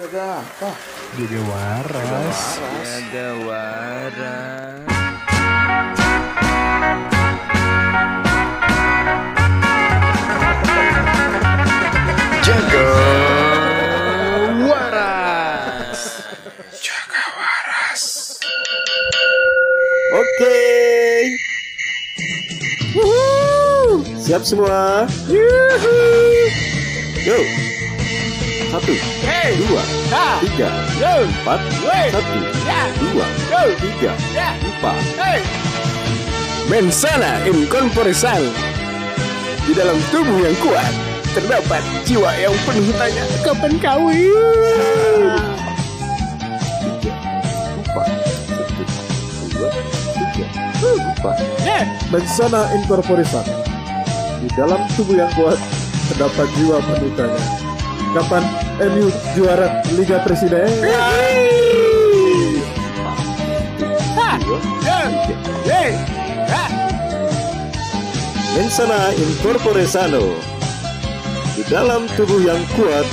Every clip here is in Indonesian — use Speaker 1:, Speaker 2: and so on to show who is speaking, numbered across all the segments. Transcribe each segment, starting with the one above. Speaker 1: Jaga apa?
Speaker 2: Jaga waras.
Speaker 3: Jaga waras.
Speaker 1: Jaga.
Speaker 3: Waras.
Speaker 1: Oke. Siap semua? Go. Satu, dua, tiga, empat, satu, dua, tiga, empat. Mensana in Corporisal. Di dalam tubuh yang kuat terdapat jiwa yang penuh tanya kapan kawin. Tiga, empat, satu, dua, tiga, empat.
Speaker 2: Mensana incorporisat. Di dalam tubuh yang kuat terdapat jiwa penuh tanya. Kapan MU juara Liga Presiden?
Speaker 1: Dua, tiga. Mensana incorpore sano. Di dalam tubuh yang kuat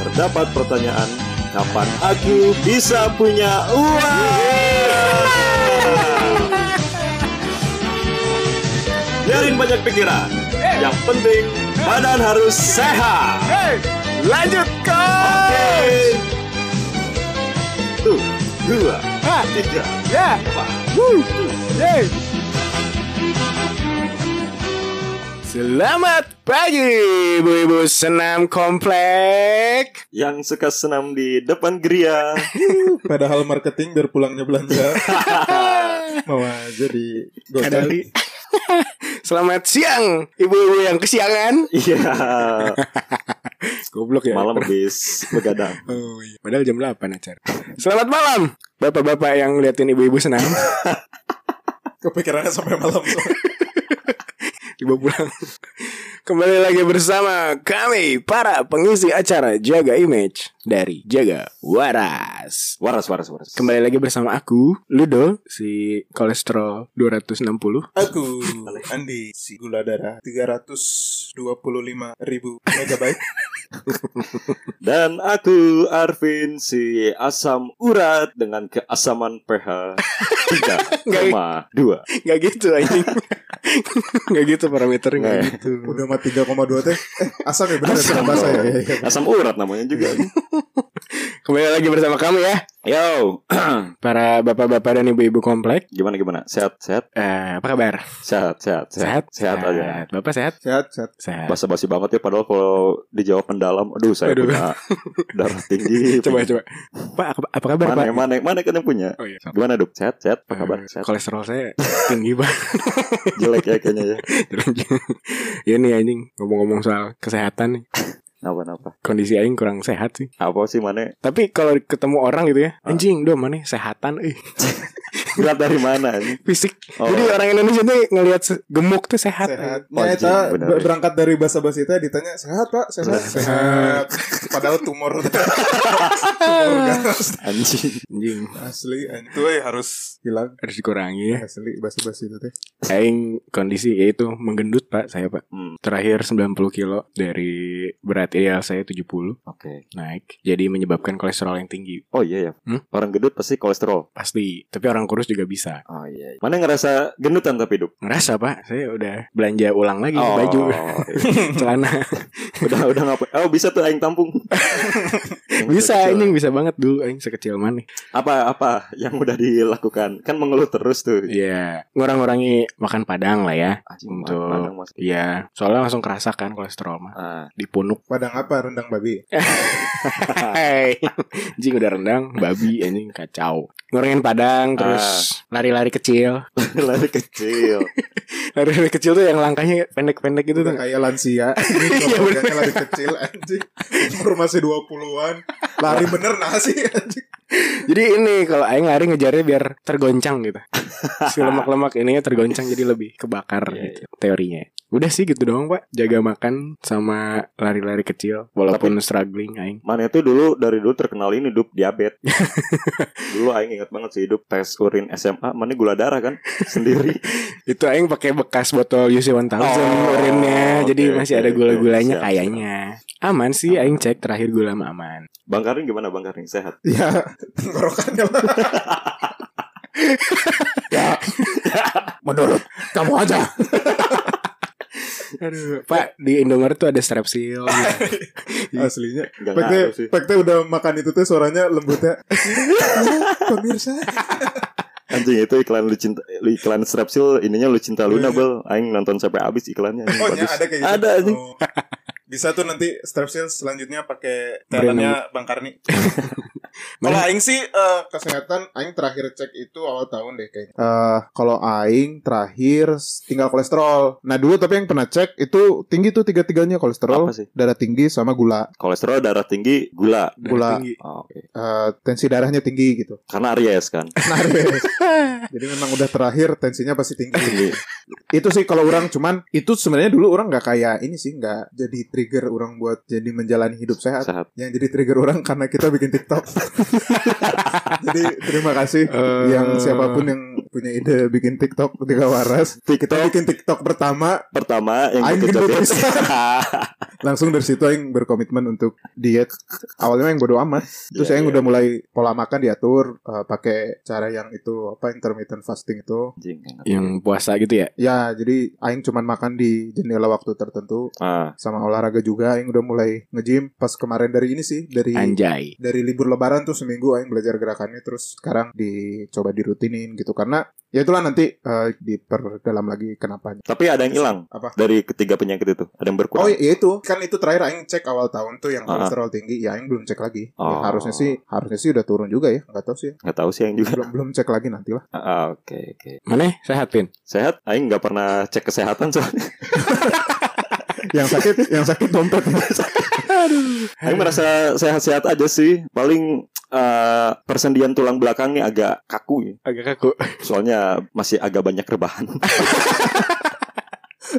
Speaker 1: terdapat pertanyaan kapan aku bisa punya uang? Biarin banyak pikiran. Yang penting badan harus sehat. Lanjut coach. Tuh, dua, tiga, empat.
Speaker 3: Selamat pagi, ibu-ibu senam komplek.
Speaker 1: Yang suka senam di depan geria.
Speaker 2: Padahal marketing biar pulangnya belanja. Mau aja di gocek.
Speaker 3: Selamat siang, ibu-ibu yang kesiangan.
Speaker 1: Iya.
Speaker 3: Goblok ya.
Speaker 1: Malam habis begadang.
Speaker 3: Oh, iya. Padahal jam 8 acara. Selamat malam, bapak-bapak yang liatin ibu-ibu senam.
Speaker 2: Kepikirannya sampai malam.
Speaker 3: Tiba pulang. Kembali lagi bersama kami para pengisi acara Jaga Image dari Jaga Waras.
Speaker 1: Waras, waras, waras.
Speaker 3: Kembali lagi bersama aku, Ludo, si kolesterol 260.
Speaker 2: Aku Andi si gula darah 325 ribu megabyte.
Speaker 1: Dan aku Arvin si asam urat dengan keasaman pH 3,2.
Speaker 3: Gak gitu anjing. Gak gitu parameternya gak
Speaker 1: Nggak ya?
Speaker 3: gitu.
Speaker 2: Udah mah 3,2 teh. Eh, asam ya bener asam bahasa ya. ya, ya.
Speaker 1: Asam urat namanya juga.
Speaker 3: Kembali lagi bersama kami ya,
Speaker 1: Yo,
Speaker 3: para bapak-bapak dan ibu-ibu komplek.
Speaker 1: gimana gimana? Sehat, sehat,
Speaker 3: Eh, apa kabar?
Speaker 1: sehat, sehat, sehat, sehat aja.
Speaker 3: Bapak sehat?
Speaker 2: Sehat, sehat.
Speaker 3: Sehat.
Speaker 1: Basa basi banget ya padahal kalau dijawab mendalam, aduh saya
Speaker 3: Aduh.
Speaker 1: punya darah tinggi.
Speaker 3: Coba coba. Pak, apa, apa kabar,
Speaker 1: Iya. Mana
Speaker 3: Pak?
Speaker 1: yang mana yang mana kan yang punya?
Speaker 3: Oh iya.
Speaker 1: Gimana dok? Sehat, sehat, apa kabar?
Speaker 3: Eh,
Speaker 1: Sehat.
Speaker 3: Kolesterol saya tinggi banget.
Speaker 1: Jelek ya kayaknya ya.
Speaker 3: ya nih anjing, ngomong-ngomong soal kesehatan nih.
Speaker 1: Napa napa?
Speaker 3: Kondisi aing kurang sehat sih.
Speaker 1: Apa sih mana?
Speaker 3: Tapi kalau ketemu orang gitu ya,
Speaker 1: Ah.
Speaker 3: anjing, dom mana sehatan euy.
Speaker 1: Berat dari mana? ini?
Speaker 3: Fisik.
Speaker 1: Oh.
Speaker 3: Jadi orang Indonesia tuh ngelihat se- gemuk tuh sehat.
Speaker 2: sehat.
Speaker 1: Oh,
Speaker 2: Nah, eta
Speaker 1: iya, benar,
Speaker 2: ber-
Speaker 1: iya.
Speaker 2: berangkat dari bahasa basi itu ditanya sehat pak, sehat, sehat. Padahal tumor, tumor ganas.
Speaker 1: Anjing.
Speaker 3: Anjing,
Speaker 2: Asli, itu eh, harus Iya. hilang.
Speaker 3: harus dikurangi ya.
Speaker 2: Asli bahasa basi itu teh.
Speaker 3: Aing kondisi yaitu menggendut Pak saya Pak.
Speaker 1: Hmm,
Speaker 3: Terakhir 90 kilo dari berat ideal saya 70
Speaker 1: Oke.
Speaker 3: naik. Jadi menyebabkan kolesterol yang tinggi.
Speaker 1: Oh iya ya.
Speaker 3: Hmm?
Speaker 1: Orang gendut pasti kolesterol.
Speaker 3: Pasti, tapi orang kurus juga bisa.
Speaker 1: Oh iya. Mana yang ngerasa gendutan tapi hidup?
Speaker 3: Ngerasa Pak, saya udah belanja ulang lagi
Speaker 1: Oh.
Speaker 3: baju, celana.
Speaker 1: udah udah ngapain? Oh bisa tuh aing tampung. Yang
Speaker 3: bisa
Speaker 1: kecil.
Speaker 3: anjing bisa banget dulu anjing sekecil mana.
Speaker 1: Apa apa yang udah dilakukan? Kan mengeluh terus tuh.
Speaker 3: Iya, ngurang-ngurangi makan padang lah ya.
Speaker 1: Anjing,
Speaker 3: Untuk-
Speaker 1: padang mas.
Speaker 3: Iya, soalnya langsung kerasa kan kolesterol mah
Speaker 1: Ah,
Speaker 3: dipunuk.
Speaker 2: Padang apa rendang babi?
Speaker 3: Hai. Anjing udah rendang, babi anjing kacau. Ngurangin padang terus
Speaker 1: Ah.
Speaker 3: lari-lari kecil.
Speaker 1: lari kecil.
Speaker 3: Lari-lari kecil tuh yang langkahnya pendek-pendek gitu
Speaker 2: Itu
Speaker 3: tuh.
Speaker 2: kayak lansia. Ini
Speaker 3: Iya, bener.
Speaker 2: keluarganya lari kecil anjing. Umur masih 20-an. Lari bener nasi anjing.
Speaker 3: Jadi ini kalau aing lari ngejarnya biar tergoncang gitu. Si lemak-lemak ininya tergoncang jadi lebih kebakar
Speaker 1: Iya,
Speaker 3: gitu teorinya. Udah sih gitu doang, Pak. Jaga makan sama lari-lari kecil walaupun struggling aing.
Speaker 1: Mana itu dulu dari dulu terkenal ini hidup diabetes. dulu aing ingat banget sih hidup tes urin SMA, mana gula darah kan sendiri.
Speaker 3: Itu aing pakai bekas botol UC 1000
Speaker 1: Oh,
Speaker 3: urinnya. Jadi
Speaker 1: oke,
Speaker 3: masih
Speaker 1: oke,
Speaker 3: ada
Speaker 1: oke.
Speaker 3: gula-gulanya
Speaker 1: Siap,
Speaker 3: kayaknya. Aman sih aing cek terakhir gue lama aman.
Speaker 1: Bang Karin gimana Bang Karin sehat?
Speaker 2: Ya, tenggorokannya lah. ya, menurut kamu aja.
Speaker 3: Aduh, Pak, di Indomaret tuh ada strepsil. gitu.
Speaker 2: Iya, Aslinya.
Speaker 1: Enggak
Speaker 2: Pekte,
Speaker 1: ngaruh sih.
Speaker 2: Pekte udah makan itu tuh suaranya lembutnya. Iya, Pemirsa.
Speaker 1: Anjing itu iklan lu cinta iklan Strepsil ininya lu cinta Luna bel. Aing nonton sampai habis iklannya. Anjing,
Speaker 4: Iya. Oh, iya,
Speaker 1: bagus.
Speaker 4: ada kayak gitu.
Speaker 1: Ada anjing.
Speaker 4: Oh. Bisa tuh nanti strepsil selanjutnya pakai teaternya Bang Karni. Kalau
Speaker 3: Mana-
Speaker 4: aing sih eh,
Speaker 2: Kesehatan aing terakhir cek itu awal tahun deh kayaknya. Eh, kalau aing terakhir tinggal kolesterol. Nah, dulu tapi yang pernah cek itu tinggi tuh tiga-tiganya kolesterol,
Speaker 1: Apa sih?
Speaker 2: darah tinggi sama gula.
Speaker 1: Kolesterol darah tinggi, gula.
Speaker 3: Darah
Speaker 2: Gula.
Speaker 3: tinggi.
Speaker 4: Iya.
Speaker 1: Oh, oke.
Speaker 2: Eh, tensi darahnya tinggi gitu.
Speaker 1: Karena Aries kan.
Speaker 2: Nah, Res. Jadi memang udah terakhir tensinya pasti tinggi. itu sih kalau orang cuman itu sebenarnya dulu orang nggak kayak ini sih nggak jadi trigger orang buat jadi menjalani hidup sehat.
Speaker 1: Sehat.
Speaker 2: Yang jadi trigger orang karena kita bikin TikTok. jadi terima kasih
Speaker 3: Eh.
Speaker 2: yang siapapun yang punya ide bikin TikTok ketika waras. Kita
Speaker 1: TikTok
Speaker 2: bikin TikTok pertama
Speaker 1: pertama yang
Speaker 2: Aing
Speaker 1: kejadian.
Speaker 2: gendut langsung dari situ yang berkomitmen untuk diet awalnya yang bodo amat terus
Speaker 1: Iya,
Speaker 2: yang
Speaker 1: iya.
Speaker 2: udah mulai pola makan diatur eh, pakai cara yang itu apa intermittent fasting itu
Speaker 1: Anjing.
Speaker 3: Yang puasa gitu ya.
Speaker 2: Ya, jadi aing cuman makan di jendela waktu tertentu
Speaker 1: Ah,
Speaker 2: sama olahraga juga aing udah mulai nge-gym pas kemarin dari ini sih, dari
Speaker 3: Iya. Anjay.
Speaker 2: dari libur lebaran tuh seminggu aing belajar gerakannya terus sekarang dicoba dirutinin gitu karena ya itulah nanti eh, diperdalam lagi kenapanya.
Speaker 1: tapi ada yang hilang
Speaker 2: Apa?
Speaker 1: dari ketiga penyakit itu. Ada yang
Speaker 2: Oh,
Speaker 1: berkurang.
Speaker 2: iya itu. Kan itu terakhir aing cek awal tahun tuh yang
Speaker 1: Ah.
Speaker 2: kolesterol tinggi, ya aing belum cek lagi. Ya,
Speaker 1: Oh.
Speaker 2: harusnya sih harusnya sih udah turun juga ya, nggak tahu sih.
Speaker 1: Nggak tahu sih yang juga.
Speaker 2: Belum belum cek lagi nantilah.
Speaker 1: Ah, oke oke.
Speaker 3: Mana sehat, Pin?
Speaker 1: Sehat? Aing nggak pernah cek kesehatan soalnya.
Speaker 2: Yang sakit yang sakit dompet.
Speaker 1: Aing merasa sehat-sehat aja sih. Paling eh, persendian tulang belakangnya agak kaku ya.
Speaker 3: Agak kaku.
Speaker 1: Soalnya masih agak banyak rebahan.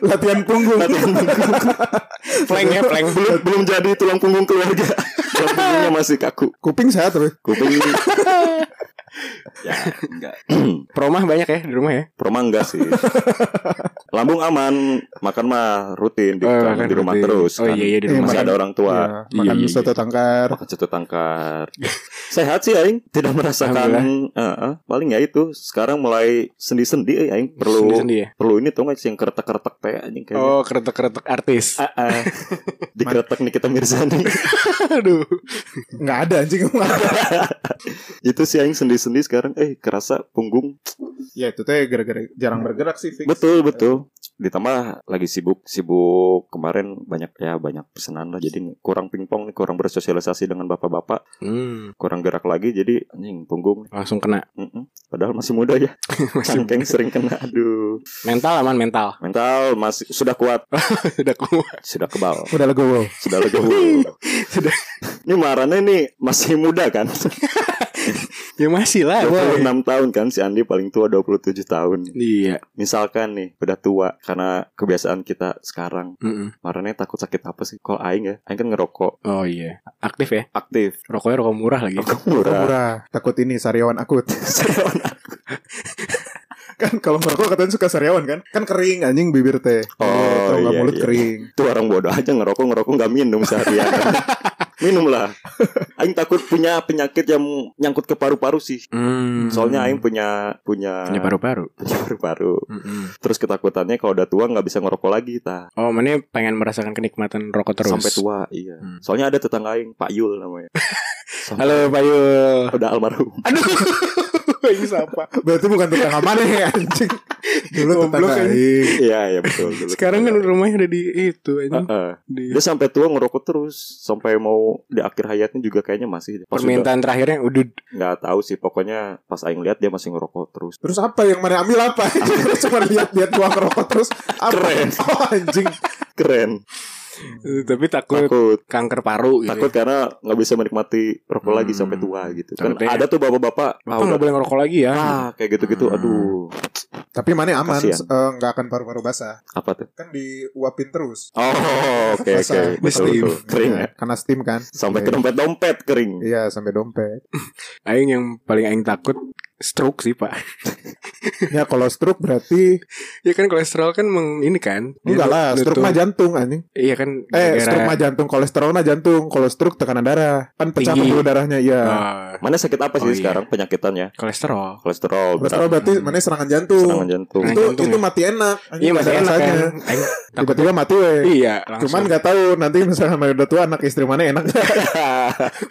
Speaker 2: Latihan punggung.
Speaker 3: Flank ya, flank.
Speaker 1: belum belum jadi tulang punggung keluarga. tulang punggungnya masih kaku.
Speaker 2: Kuping sehat tapi
Speaker 1: Kuping. ya, enggak.
Speaker 3: Peromah banyak ya di rumah ya.
Speaker 1: Perma enggak sih. Lambung aman, makan mah rutin di,
Speaker 3: Oh,
Speaker 1: kan,
Speaker 3: makan
Speaker 1: di rumah
Speaker 3: rutin.
Speaker 1: terus.
Speaker 3: Oh,
Speaker 1: kan.
Speaker 3: iya, iya, di
Speaker 1: Masih
Speaker 2: rumah.
Speaker 1: ada orang tua.
Speaker 2: Iya,
Speaker 3: Iya,
Speaker 2: makan
Speaker 3: iya, iya.
Speaker 2: soto tangkar.
Speaker 1: Makan soto tangkar. Sehat sih aing, tidak merasakan eh, eh, paling ya itu sekarang mulai sendi-sendi eh, aing perlu
Speaker 3: Sendi-sendi ya.
Speaker 1: perlu ini tau gak sih yang keretek-keretek teh anjing kayaknya.
Speaker 3: Oh, keretek-keretek artis.
Speaker 1: Ah, ah. Dikeretek Nikita Mirzani.
Speaker 3: Aduh.
Speaker 2: Nggak ada anjing nggak ada.
Speaker 1: itu sih aing sendi-sendi sekarang eh kerasa punggung.
Speaker 2: ya itu teh gara-gara jarang bergerak sih fix.
Speaker 1: Hmm. Betul, betul. Ditambah lagi sibuk, sibuk kemarin banyak ya banyak pesanan lah jadi kurang pingpong nih, kurang bersosialisasi dengan bapak-bapak,
Speaker 3: Hmm,
Speaker 1: kurang gerak lagi jadi anjing punggung.
Speaker 3: langsung kena.
Speaker 1: Mm-mm. Padahal masih muda ya.
Speaker 3: Masih
Speaker 1: Cangkeng sering kena aduh.
Speaker 3: mental aman mental.
Speaker 1: Mental masih sudah kuat,
Speaker 3: Sudah kuat.
Speaker 1: sudah kebal,
Speaker 2: Udah legowo.
Speaker 1: sudah lega. sudah. Ini marahnya nih masih muda kan.
Speaker 3: Ya masih lah. woy.
Speaker 1: 26 tahun kan si Andi paling tua 27 tahun.
Speaker 3: Iya.
Speaker 1: Misalkan nih udah tua karena kebiasaan kita sekarang.
Speaker 3: Mm-mm.
Speaker 1: Marahnya takut sakit apa sih? Kalau aing ya, aing kan ngerokok
Speaker 3: Oh iya. Aktif ya.
Speaker 1: aktif.
Speaker 3: Rokoknya rokok Iya, murah lagi.
Speaker 1: Rokok murah.
Speaker 2: Murah. Takut ini sariawan akut.
Speaker 1: Seriawan.
Speaker 2: kan kalau merokok katanya suka sariawan kan? Kan kering anjing bibir teh.
Speaker 1: Oh,
Speaker 2: Kalau nggak
Speaker 1: iya,
Speaker 2: mulut
Speaker 1: iya.
Speaker 2: kering.
Speaker 1: Itu orang bodoh aja ngerokok ngerokok nggak minum seharian. minum lah. Aing takut punya penyakit yang nyangkut ke paru-paru sih.
Speaker 3: Hmm.
Speaker 1: Soalnya Aing punya punya
Speaker 3: punya paru-paru.
Speaker 1: punya paru-paru.
Speaker 3: Mm-mm.
Speaker 1: Terus ketakutannya kalau udah tua nggak bisa ngerokok lagi, tah.
Speaker 3: Oh, mana pengen merasakan kenikmatan rokok terus.
Speaker 1: Sampai tua, iya.
Speaker 3: Hmm.
Speaker 1: Soalnya ada tetangga aing, Pak Yul namanya. Sampai
Speaker 3: Halo Pak Yul.
Speaker 1: udah almarhum.
Speaker 3: Aduh. Ini siapa?
Speaker 2: Berarti bukan tetangga mana ya anjing. Dulu
Speaker 3: Goblok,
Speaker 2: tetangga
Speaker 3: anjing.
Speaker 2: aing.
Speaker 1: Iya, iya betul. betul.
Speaker 3: Sekarang kan rumahnya udah di itu aja.
Speaker 1: Heeh.
Speaker 3: Di
Speaker 1: Dia sampai tua ngerokok terus, sampai mau di akhir hayatnya juga kayaknya masih. Pas udah-
Speaker 3: permintaan terakhirnya udah
Speaker 1: nggak tahu sih, pokoknya pas aing lihat dia masih ngerokok terus.
Speaker 2: Terus apa yang mana ambil apa? Terus Cuma lihat-lihat gua ngerokok terus apa?
Speaker 1: Keren.
Speaker 2: Oh anjing.
Speaker 1: Keren.
Speaker 3: tapi takut
Speaker 1: Takut
Speaker 3: kanker paru gitu.
Speaker 1: takut karena nggak bisa menikmati rokok
Speaker 3: Hmm.
Speaker 1: lagi sampai tua gitu kan
Speaker 3: Takutnya-
Speaker 1: ada tuh bapak-bapak ah,
Speaker 3: Bapak nggak
Speaker 1: udah-
Speaker 3: boleh ngerokok lagi ya.
Speaker 1: ah, kayak gitu-gitu
Speaker 3: Hmm.
Speaker 1: aduh
Speaker 2: Tapi mana aman,
Speaker 1: Kasian.
Speaker 2: se- eh, nggak akan paru-paru basah.
Speaker 1: Apa tuh?
Speaker 2: Kan diuapin terus.
Speaker 1: Oh, oke oke.
Speaker 2: Basah.
Speaker 1: Betul,
Speaker 2: Steam.
Speaker 1: betul. Kering ya.
Speaker 2: Karena steam kan.
Speaker 1: Sampai ke
Speaker 2: Iya.
Speaker 1: dompet-dompet kering.
Speaker 2: Iya, sampai dompet.
Speaker 3: Aing yang paling aing takut stroke sih pak.
Speaker 2: ya kalau stroke berarti
Speaker 3: Ya kan kolesterol kan meng ini kan. dia
Speaker 2: enggak lah,
Speaker 3: nutup-
Speaker 2: stroke mah jantung anjing.
Speaker 3: Iya kan.
Speaker 2: Eh,
Speaker 3: gara-gara-
Speaker 2: stroke mah jantung, kolesterol mah jantung. Kalau stroke tekanan darah, kan pecah
Speaker 3: Tinggi.
Speaker 2: pembuluh darahnya iya.
Speaker 3: Ah,
Speaker 1: Mana sakit apa sih
Speaker 3: Oh, iya.
Speaker 1: sekarang penyakitannya?
Speaker 3: kolesterol.
Speaker 1: Kolesterol,
Speaker 2: kolesterol berarti
Speaker 3: Hmm.
Speaker 2: mana serangan jantung.
Speaker 1: serangan jantung.
Speaker 3: Serangan
Speaker 2: Itu
Speaker 3: jantung
Speaker 2: itu
Speaker 3: ya?
Speaker 2: mati enak. anjing,
Speaker 3: Iya
Speaker 2: nggak
Speaker 3: masih
Speaker 2: ada
Speaker 3: enak
Speaker 2: rasanya.
Speaker 3: kan. Aing takut.
Speaker 2: Tiba-tiba mati we.
Speaker 3: Iya. Langsung.
Speaker 2: Cuman nggak tahu nanti misalnya mana udah tua anak istri mana enak.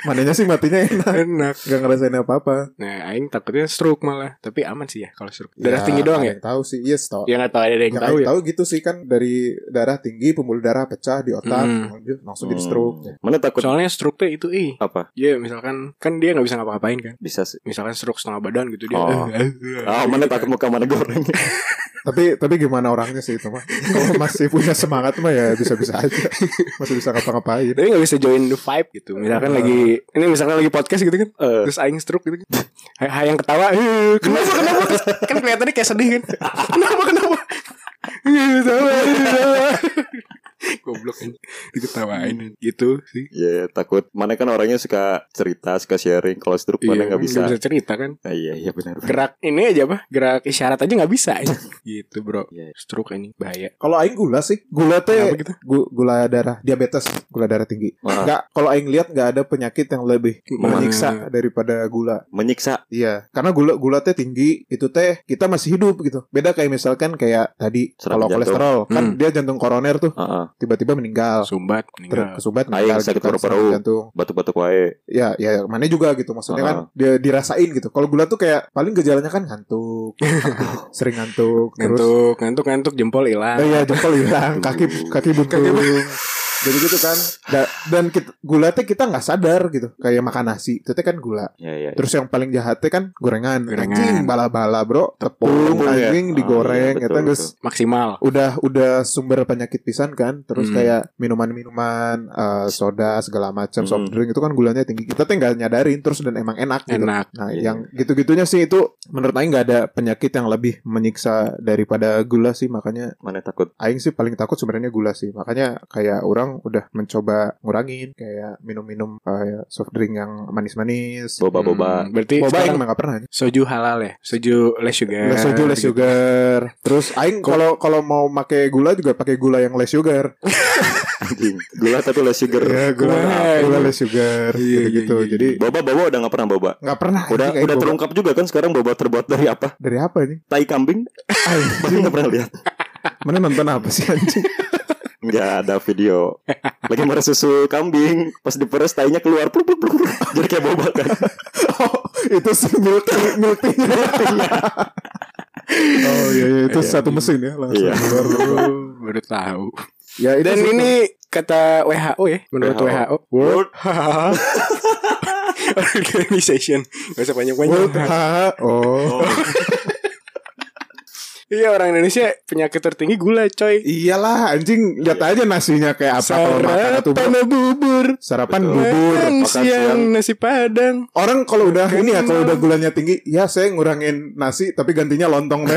Speaker 2: Mananya sih matinya enak.
Speaker 3: enak.
Speaker 2: Gak ngerasain apa-apa.
Speaker 3: Nah, aing takutnya stroke malah. Tapi aman sih ya kalau stroke. Darah tinggi doang ya?
Speaker 2: yang Tahu sih, yes tau.
Speaker 3: Ya nggak tahu ada yang
Speaker 2: yang
Speaker 3: tahu
Speaker 2: tahu,
Speaker 3: ya.
Speaker 2: gitu sih kan dari darah tinggi pembuluh darah pecah di otak
Speaker 3: Hmm.
Speaker 2: langsung jadi stroke. ya.
Speaker 1: Mana takut
Speaker 3: Soalnya stroke tuh itu ih.
Speaker 1: apa?
Speaker 3: Ya misalkan kan dia nggak bisa ngapa-ngapain kan.
Speaker 1: Bisa sih.
Speaker 3: Misalkan stroke setengah badan gitu dia. eh."
Speaker 1: Oh. Ah, mana takut muka mana goreng.
Speaker 2: Tapi tapi gimana orangnya sih itu mah? Kalau masih punya semangat mah ya bisa-bisa aja. Masih bisa ngapa-ngapain.
Speaker 3: Tapi nggak bisa join the vibe gitu. Misalkan
Speaker 2: Ah.
Speaker 3: lagi ini misalkan lagi podcast gitu kan.
Speaker 1: Eh,
Speaker 3: Terus aing stroke gitu kan. Hay- hay yang ketawa. "Eh, Kenapa kenapa? kan kelihatannya kayak sedih kan. Kenapa kenapa? "Eh, ketawa, eh, ketawa." Goblok kan Diketawain gitu sih.
Speaker 1: Ya takut Mana kan orangnya suka cerita Suka sharing Kalau stroke mana nggak bisa,
Speaker 3: Iya, cerita kan.
Speaker 1: Nah, Iya iya benar
Speaker 3: Gerak ini aja apa? Gerak isyarat aja nggak bisa. gitu, Bro.
Speaker 1: Iya.
Speaker 3: Stroke ini bahaya.
Speaker 2: Kalau aing gula sih, gula
Speaker 3: Kenapa
Speaker 2: teh
Speaker 3: gitu?
Speaker 2: gu- gula darah diabetes, gula darah tinggi.
Speaker 1: Wah.
Speaker 2: Enggak, kalau aing lihat nggak ada penyakit yang lebih menyiksa daripada gula.
Speaker 1: Menyiksa
Speaker 2: Iya, karena gula gula teh tinggi itu teh kita masih hidup gitu. Beda kayak misalkan kayak tadi
Speaker 1: Serangan
Speaker 2: kalau
Speaker 1: jantung.
Speaker 2: kolesterol kan
Speaker 3: Hmm.
Speaker 2: dia jantung koroner tuh
Speaker 1: Heeh.
Speaker 2: tiba-tiba meninggal.
Speaker 3: Sumbat
Speaker 2: Iya.
Speaker 3: meninggal.
Speaker 2: Tersumbat
Speaker 1: Ah, yang
Speaker 2: meninggal
Speaker 1: sakit
Speaker 2: gitu kan,
Speaker 1: paru-paru.
Speaker 2: serangan jantung.
Speaker 1: Batuk-batuk wae
Speaker 2: Ya, ya mana juga gitu maksudnya
Speaker 1: Ah.
Speaker 2: kan dia dirasain gitu. Kalau gula tuh kayak paling gejalanya kan ngantuk, sering ngantuk, terus
Speaker 3: Ngantuk, ngantuk, ngantuk jempol
Speaker 2: Oh
Speaker 3: hilang.
Speaker 2: iya jempol hilang, kaki kaki buntung. Jadi gitu kan. Da- dan kita, gula teh kita nggak sadar gitu. Kayak makan nasi itu teh kan gula.
Speaker 1: Ya ya
Speaker 2: Terus yang paling jahatnya kan gorengan.
Speaker 3: Gorengan.
Speaker 2: Anjing bala-bala bro, tepung,
Speaker 1: Tepung ya.
Speaker 2: anjing
Speaker 1: Ah,
Speaker 2: digoreng
Speaker 1: iya,
Speaker 2: eta
Speaker 1: betul,
Speaker 2: geus
Speaker 1: betul.
Speaker 3: Maksimal.
Speaker 2: udah udah sumber penyakit pisan kan. Terus
Speaker 3: Hmm.
Speaker 2: kayak minuman-minuman eh, soda segala macam soft
Speaker 1: Hmm.
Speaker 2: drink itu kan gulanya tinggi. Kita tuh nggak nyadarin terus dan emang enak gitu.
Speaker 3: Enak.
Speaker 2: Nah,
Speaker 1: Iya.
Speaker 2: yang gitu-gitunya sih itu menurut aing nggak ada penyakit yang lebih menyiksa daripada gula sih makanya
Speaker 1: Mana takut
Speaker 2: aing sih paling takut sebenarnya gula sih. Makanya kayak orang udah mencoba ngurangin kayak minum-minum kayak soft drink yang manis-manis.
Speaker 1: Boba-boba
Speaker 3: Hmm, berarti
Speaker 2: Boba
Speaker 3: sekarang
Speaker 2: aing mah nggak pernah
Speaker 3: soju halal ya soju less sugar
Speaker 2: Less sugar, less
Speaker 3: Gitu.
Speaker 2: sugar. Terus aing kalau kalau mau pakai gula juga pakai gula yang less sugar.
Speaker 1: Anjing Gula tapi less sugar
Speaker 2: gula,
Speaker 3: Wah,
Speaker 2: gula
Speaker 3: iya.
Speaker 2: less sugar
Speaker 3: Iya, iya,
Speaker 2: gitu-gitu.
Speaker 3: iya, iya.
Speaker 2: Jadi
Speaker 1: Boba-boba udah nggak pernah boba
Speaker 2: nggak pernah
Speaker 1: Udah
Speaker 2: anjing, aing
Speaker 1: udah
Speaker 2: boba.
Speaker 1: terungkap juga kan sekarang boba terbuat dari apa?
Speaker 2: dari apa ini?
Speaker 1: Tai kambing? Mana nggak pernah lihat?
Speaker 2: Mana nonton apa sih anjing?
Speaker 1: Nggak ada video. Lagi merah susu kambing, pas diperes tainya keluar pluk, pluk, pluk, pluk. Jadi kayak boba kan.
Speaker 2: oh, itu si milky milky. oh iya, iya itu
Speaker 1: Iya.
Speaker 2: satu mesin ya langsung.
Speaker 1: Iya.
Speaker 2: keluar.
Speaker 3: Oh, baru tahu
Speaker 2: ya itu
Speaker 3: dan
Speaker 2: sih.
Speaker 3: ini kata WHO ya menurut
Speaker 1: WHO.
Speaker 3: WHO, World Organization Gak usah
Speaker 2: World
Speaker 3: panjang-panjang
Speaker 2: Ha- Oh.
Speaker 3: Iya orang Indonesia penyakit tertinggi gula coy
Speaker 2: Iyalah anjing lihat aja nasinya kayak apa kalau makan tuh.
Speaker 3: Sarapan bubur
Speaker 2: Sarapan bubur.
Speaker 3: Makan
Speaker 1: makan siang.
Speaker 3: siang nasi padang
Speaker 2: Orang kalau udah
Speaker 3: Kenal.
Speaker 2: ini ya kalau udah gulanya tinggi, ya saya ngurangin nasi tapi gantinya lontong deh.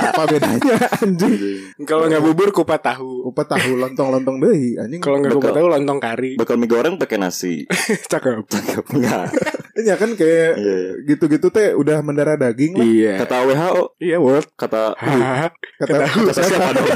Speaker 2: Apa bedanya anjing?
Speaker 3: Kalau nggak bubur kupat tahu
Speaker 2: Kupat tahu lontong-lontang deh anjing.
Speaker 3: Kalau nggak
Speaker 1: Bekal.
Speaker 3: kupat tahu lontong kari
Speaker 1: Bakal mie goreng pakai nasi.
Speaker 3: Cakep
Speaker 1: Cakep nggak?
Speaker 2: Ya kan kayak
Speaker 1: Iya, iya.
Speaker 2: gitu-gitu teh udah mendarah daging lah.
Speaker 3: Iya
Speaker 1: Kata WHO,
Speaker 3: Iya World
Speaker 1: kata
Speaker 2: Kata,
Speaker 1: kata siapa dong?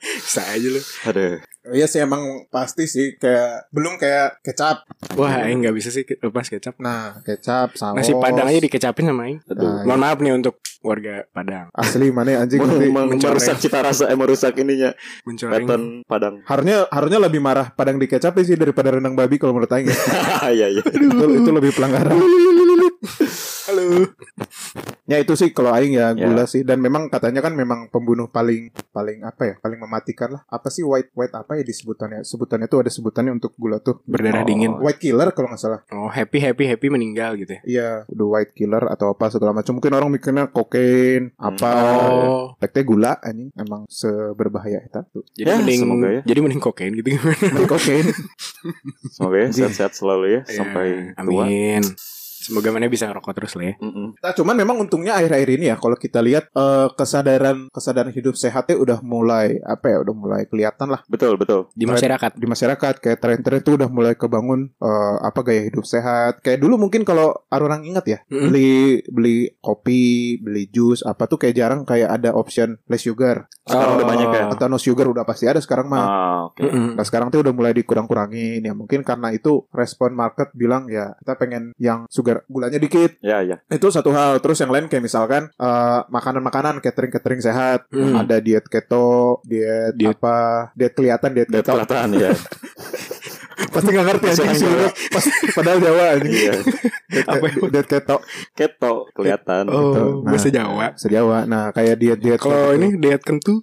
Speaker 3: Bisa aja lu
Speaker 1: Aduh.
Speaker 2: Iya sih emang pasti sih kayak belum kayak kecap.
Speaker 3: Wah Aing nggak bisa sih lepas kecap
Speaker 2: Nah, kecap saus.
Speaker 3: Nasi Padang aja dikecapin sama Aing.
Speaker 1: Aduh.
Speaker 3: Mohon maaf nih untuk warga Padang.
Speaker 2: Asli mana anjing
Speaker 1: Meng-
Speaker 2: nanti.
Speaker 1: meng-
Speaker 3: mencoreng.
Speaker 1: merusak cita rasa, eh merusak ininya.
Speaker 3: Mencoreng.
Speaker 1: Pattern Padang.
Speaker 2: Harusnya harusnya lebih marah Padang dikecap sih daripada rendang babi kalau menurut aing. ya.
Speaker 1: Iya iya.
Speaker 2: itu, itu lebih pelanggaran.
Speaker 3: Halo.
Speaker 2: Ya itu sih kalau aing ya
Speaker 1: Ya.
Speaker 2: gula sih dan memang katanya kan memang pembunuh paling paling apa ya paling mematikan lah apa sih white white apa ya disebutannya sebutannya tuh ada sebutannya untuk gula tuh
Speaker 3: Berdarah
Speaker 1: Oh.
Speaker 3: dingin.
Speaker 2: white killer kalau nggak salah
Speaker 3: Oh, happy happy happy meninggal gitu ya.
Speaker 2: iya the white killer atau apa segala macam mungkin orang mikirnya kokain apa
Speaker 3: Oh.
Speaker 2: Efeknya gula anjing emang seberbahaya itu tuh
Speaker 3: Jadi
Speaker 1: Ya,
Speaker 3: mending
Speaker 1: semoga ya.
Speaker 3: jadi mending kokain gitu gimana?
Speaker 2: kokain
Speaker 1: Semoga ya sehat-sehat selalu ya
Speaker 3: Ya,
Speaker 1: sampai tua.
Speaker 3: Amin. Semoga mana bisa ngerokok terus lah ya.
Speaker 1: Mm-mm.
Speaker 2: Nah, cuman memang untungnya akhir-akhir ini ya kalau kita lihat eh, kesadaran kesadaran hidup sehatnya udah mulai apa ya udah mulai kelihatan lah
Speaker 1: Betul betul.
Speaker 3: Di masyarakat.
Speaker 2: di masyarakat kayak tren-tren itu udah mulai kebangun eh, apa gaya hidup sehat kayak dulu mungkin kalau orang ingat ya
Speaker 3: Mm-mm.
Speaker 2: beli beli kopi beli jus apa tuh kayak jarang kayak ada option less sugar
Speaker 1: Sekarang
Speaker 3: Oh.
Speaker 1: udah banyak ya.
Speaker 2: atau no sugar udah pasti ada sekarang mah
Speaker 1: Ah, oke.
Speaker 3: Mm-mm.
Speaker 2: Nah sekarang tuh udah mulai dikurang-kurangin ya mungkin karena itu respon market bilang ya kita pengen yang sugar gulanya dikit
Speaker 1: Ya ya.
Speaker 2: itu satu hal terus yang lain kayak misalkan eh, makanan-makanan catering-catering sehat
Speaker 3: Hmm.
Speaker 2: ada diet keto diet,
Speaker 3: Diet-
Speaker 2: apa diet kelihatan diet
Speaker 1: Dari
Speaker 2: keto
Speaker 1: perkataan ya.
Speaker 2: pasti nggak ngerti aja
Speaker 1: Bahasa Jawa.
Speaker 2: padahal Jawa anjing
Speaker 1: Iya.
Speaker 2: diet,
Speaker 3: Apa ya?
Speaker 2: diet keto
Speaker 1: Keto kelihatan.
Speaker 2: Gitu.
Speaker 3: Oh,
Speaker 2: Nah.
Speaker 3: bahasa Jawa.
Speaker 2: se Jawa nah kayak diet-diet
Speaker 1: gitu.
Speaker 3: Kalau ini diet kentu.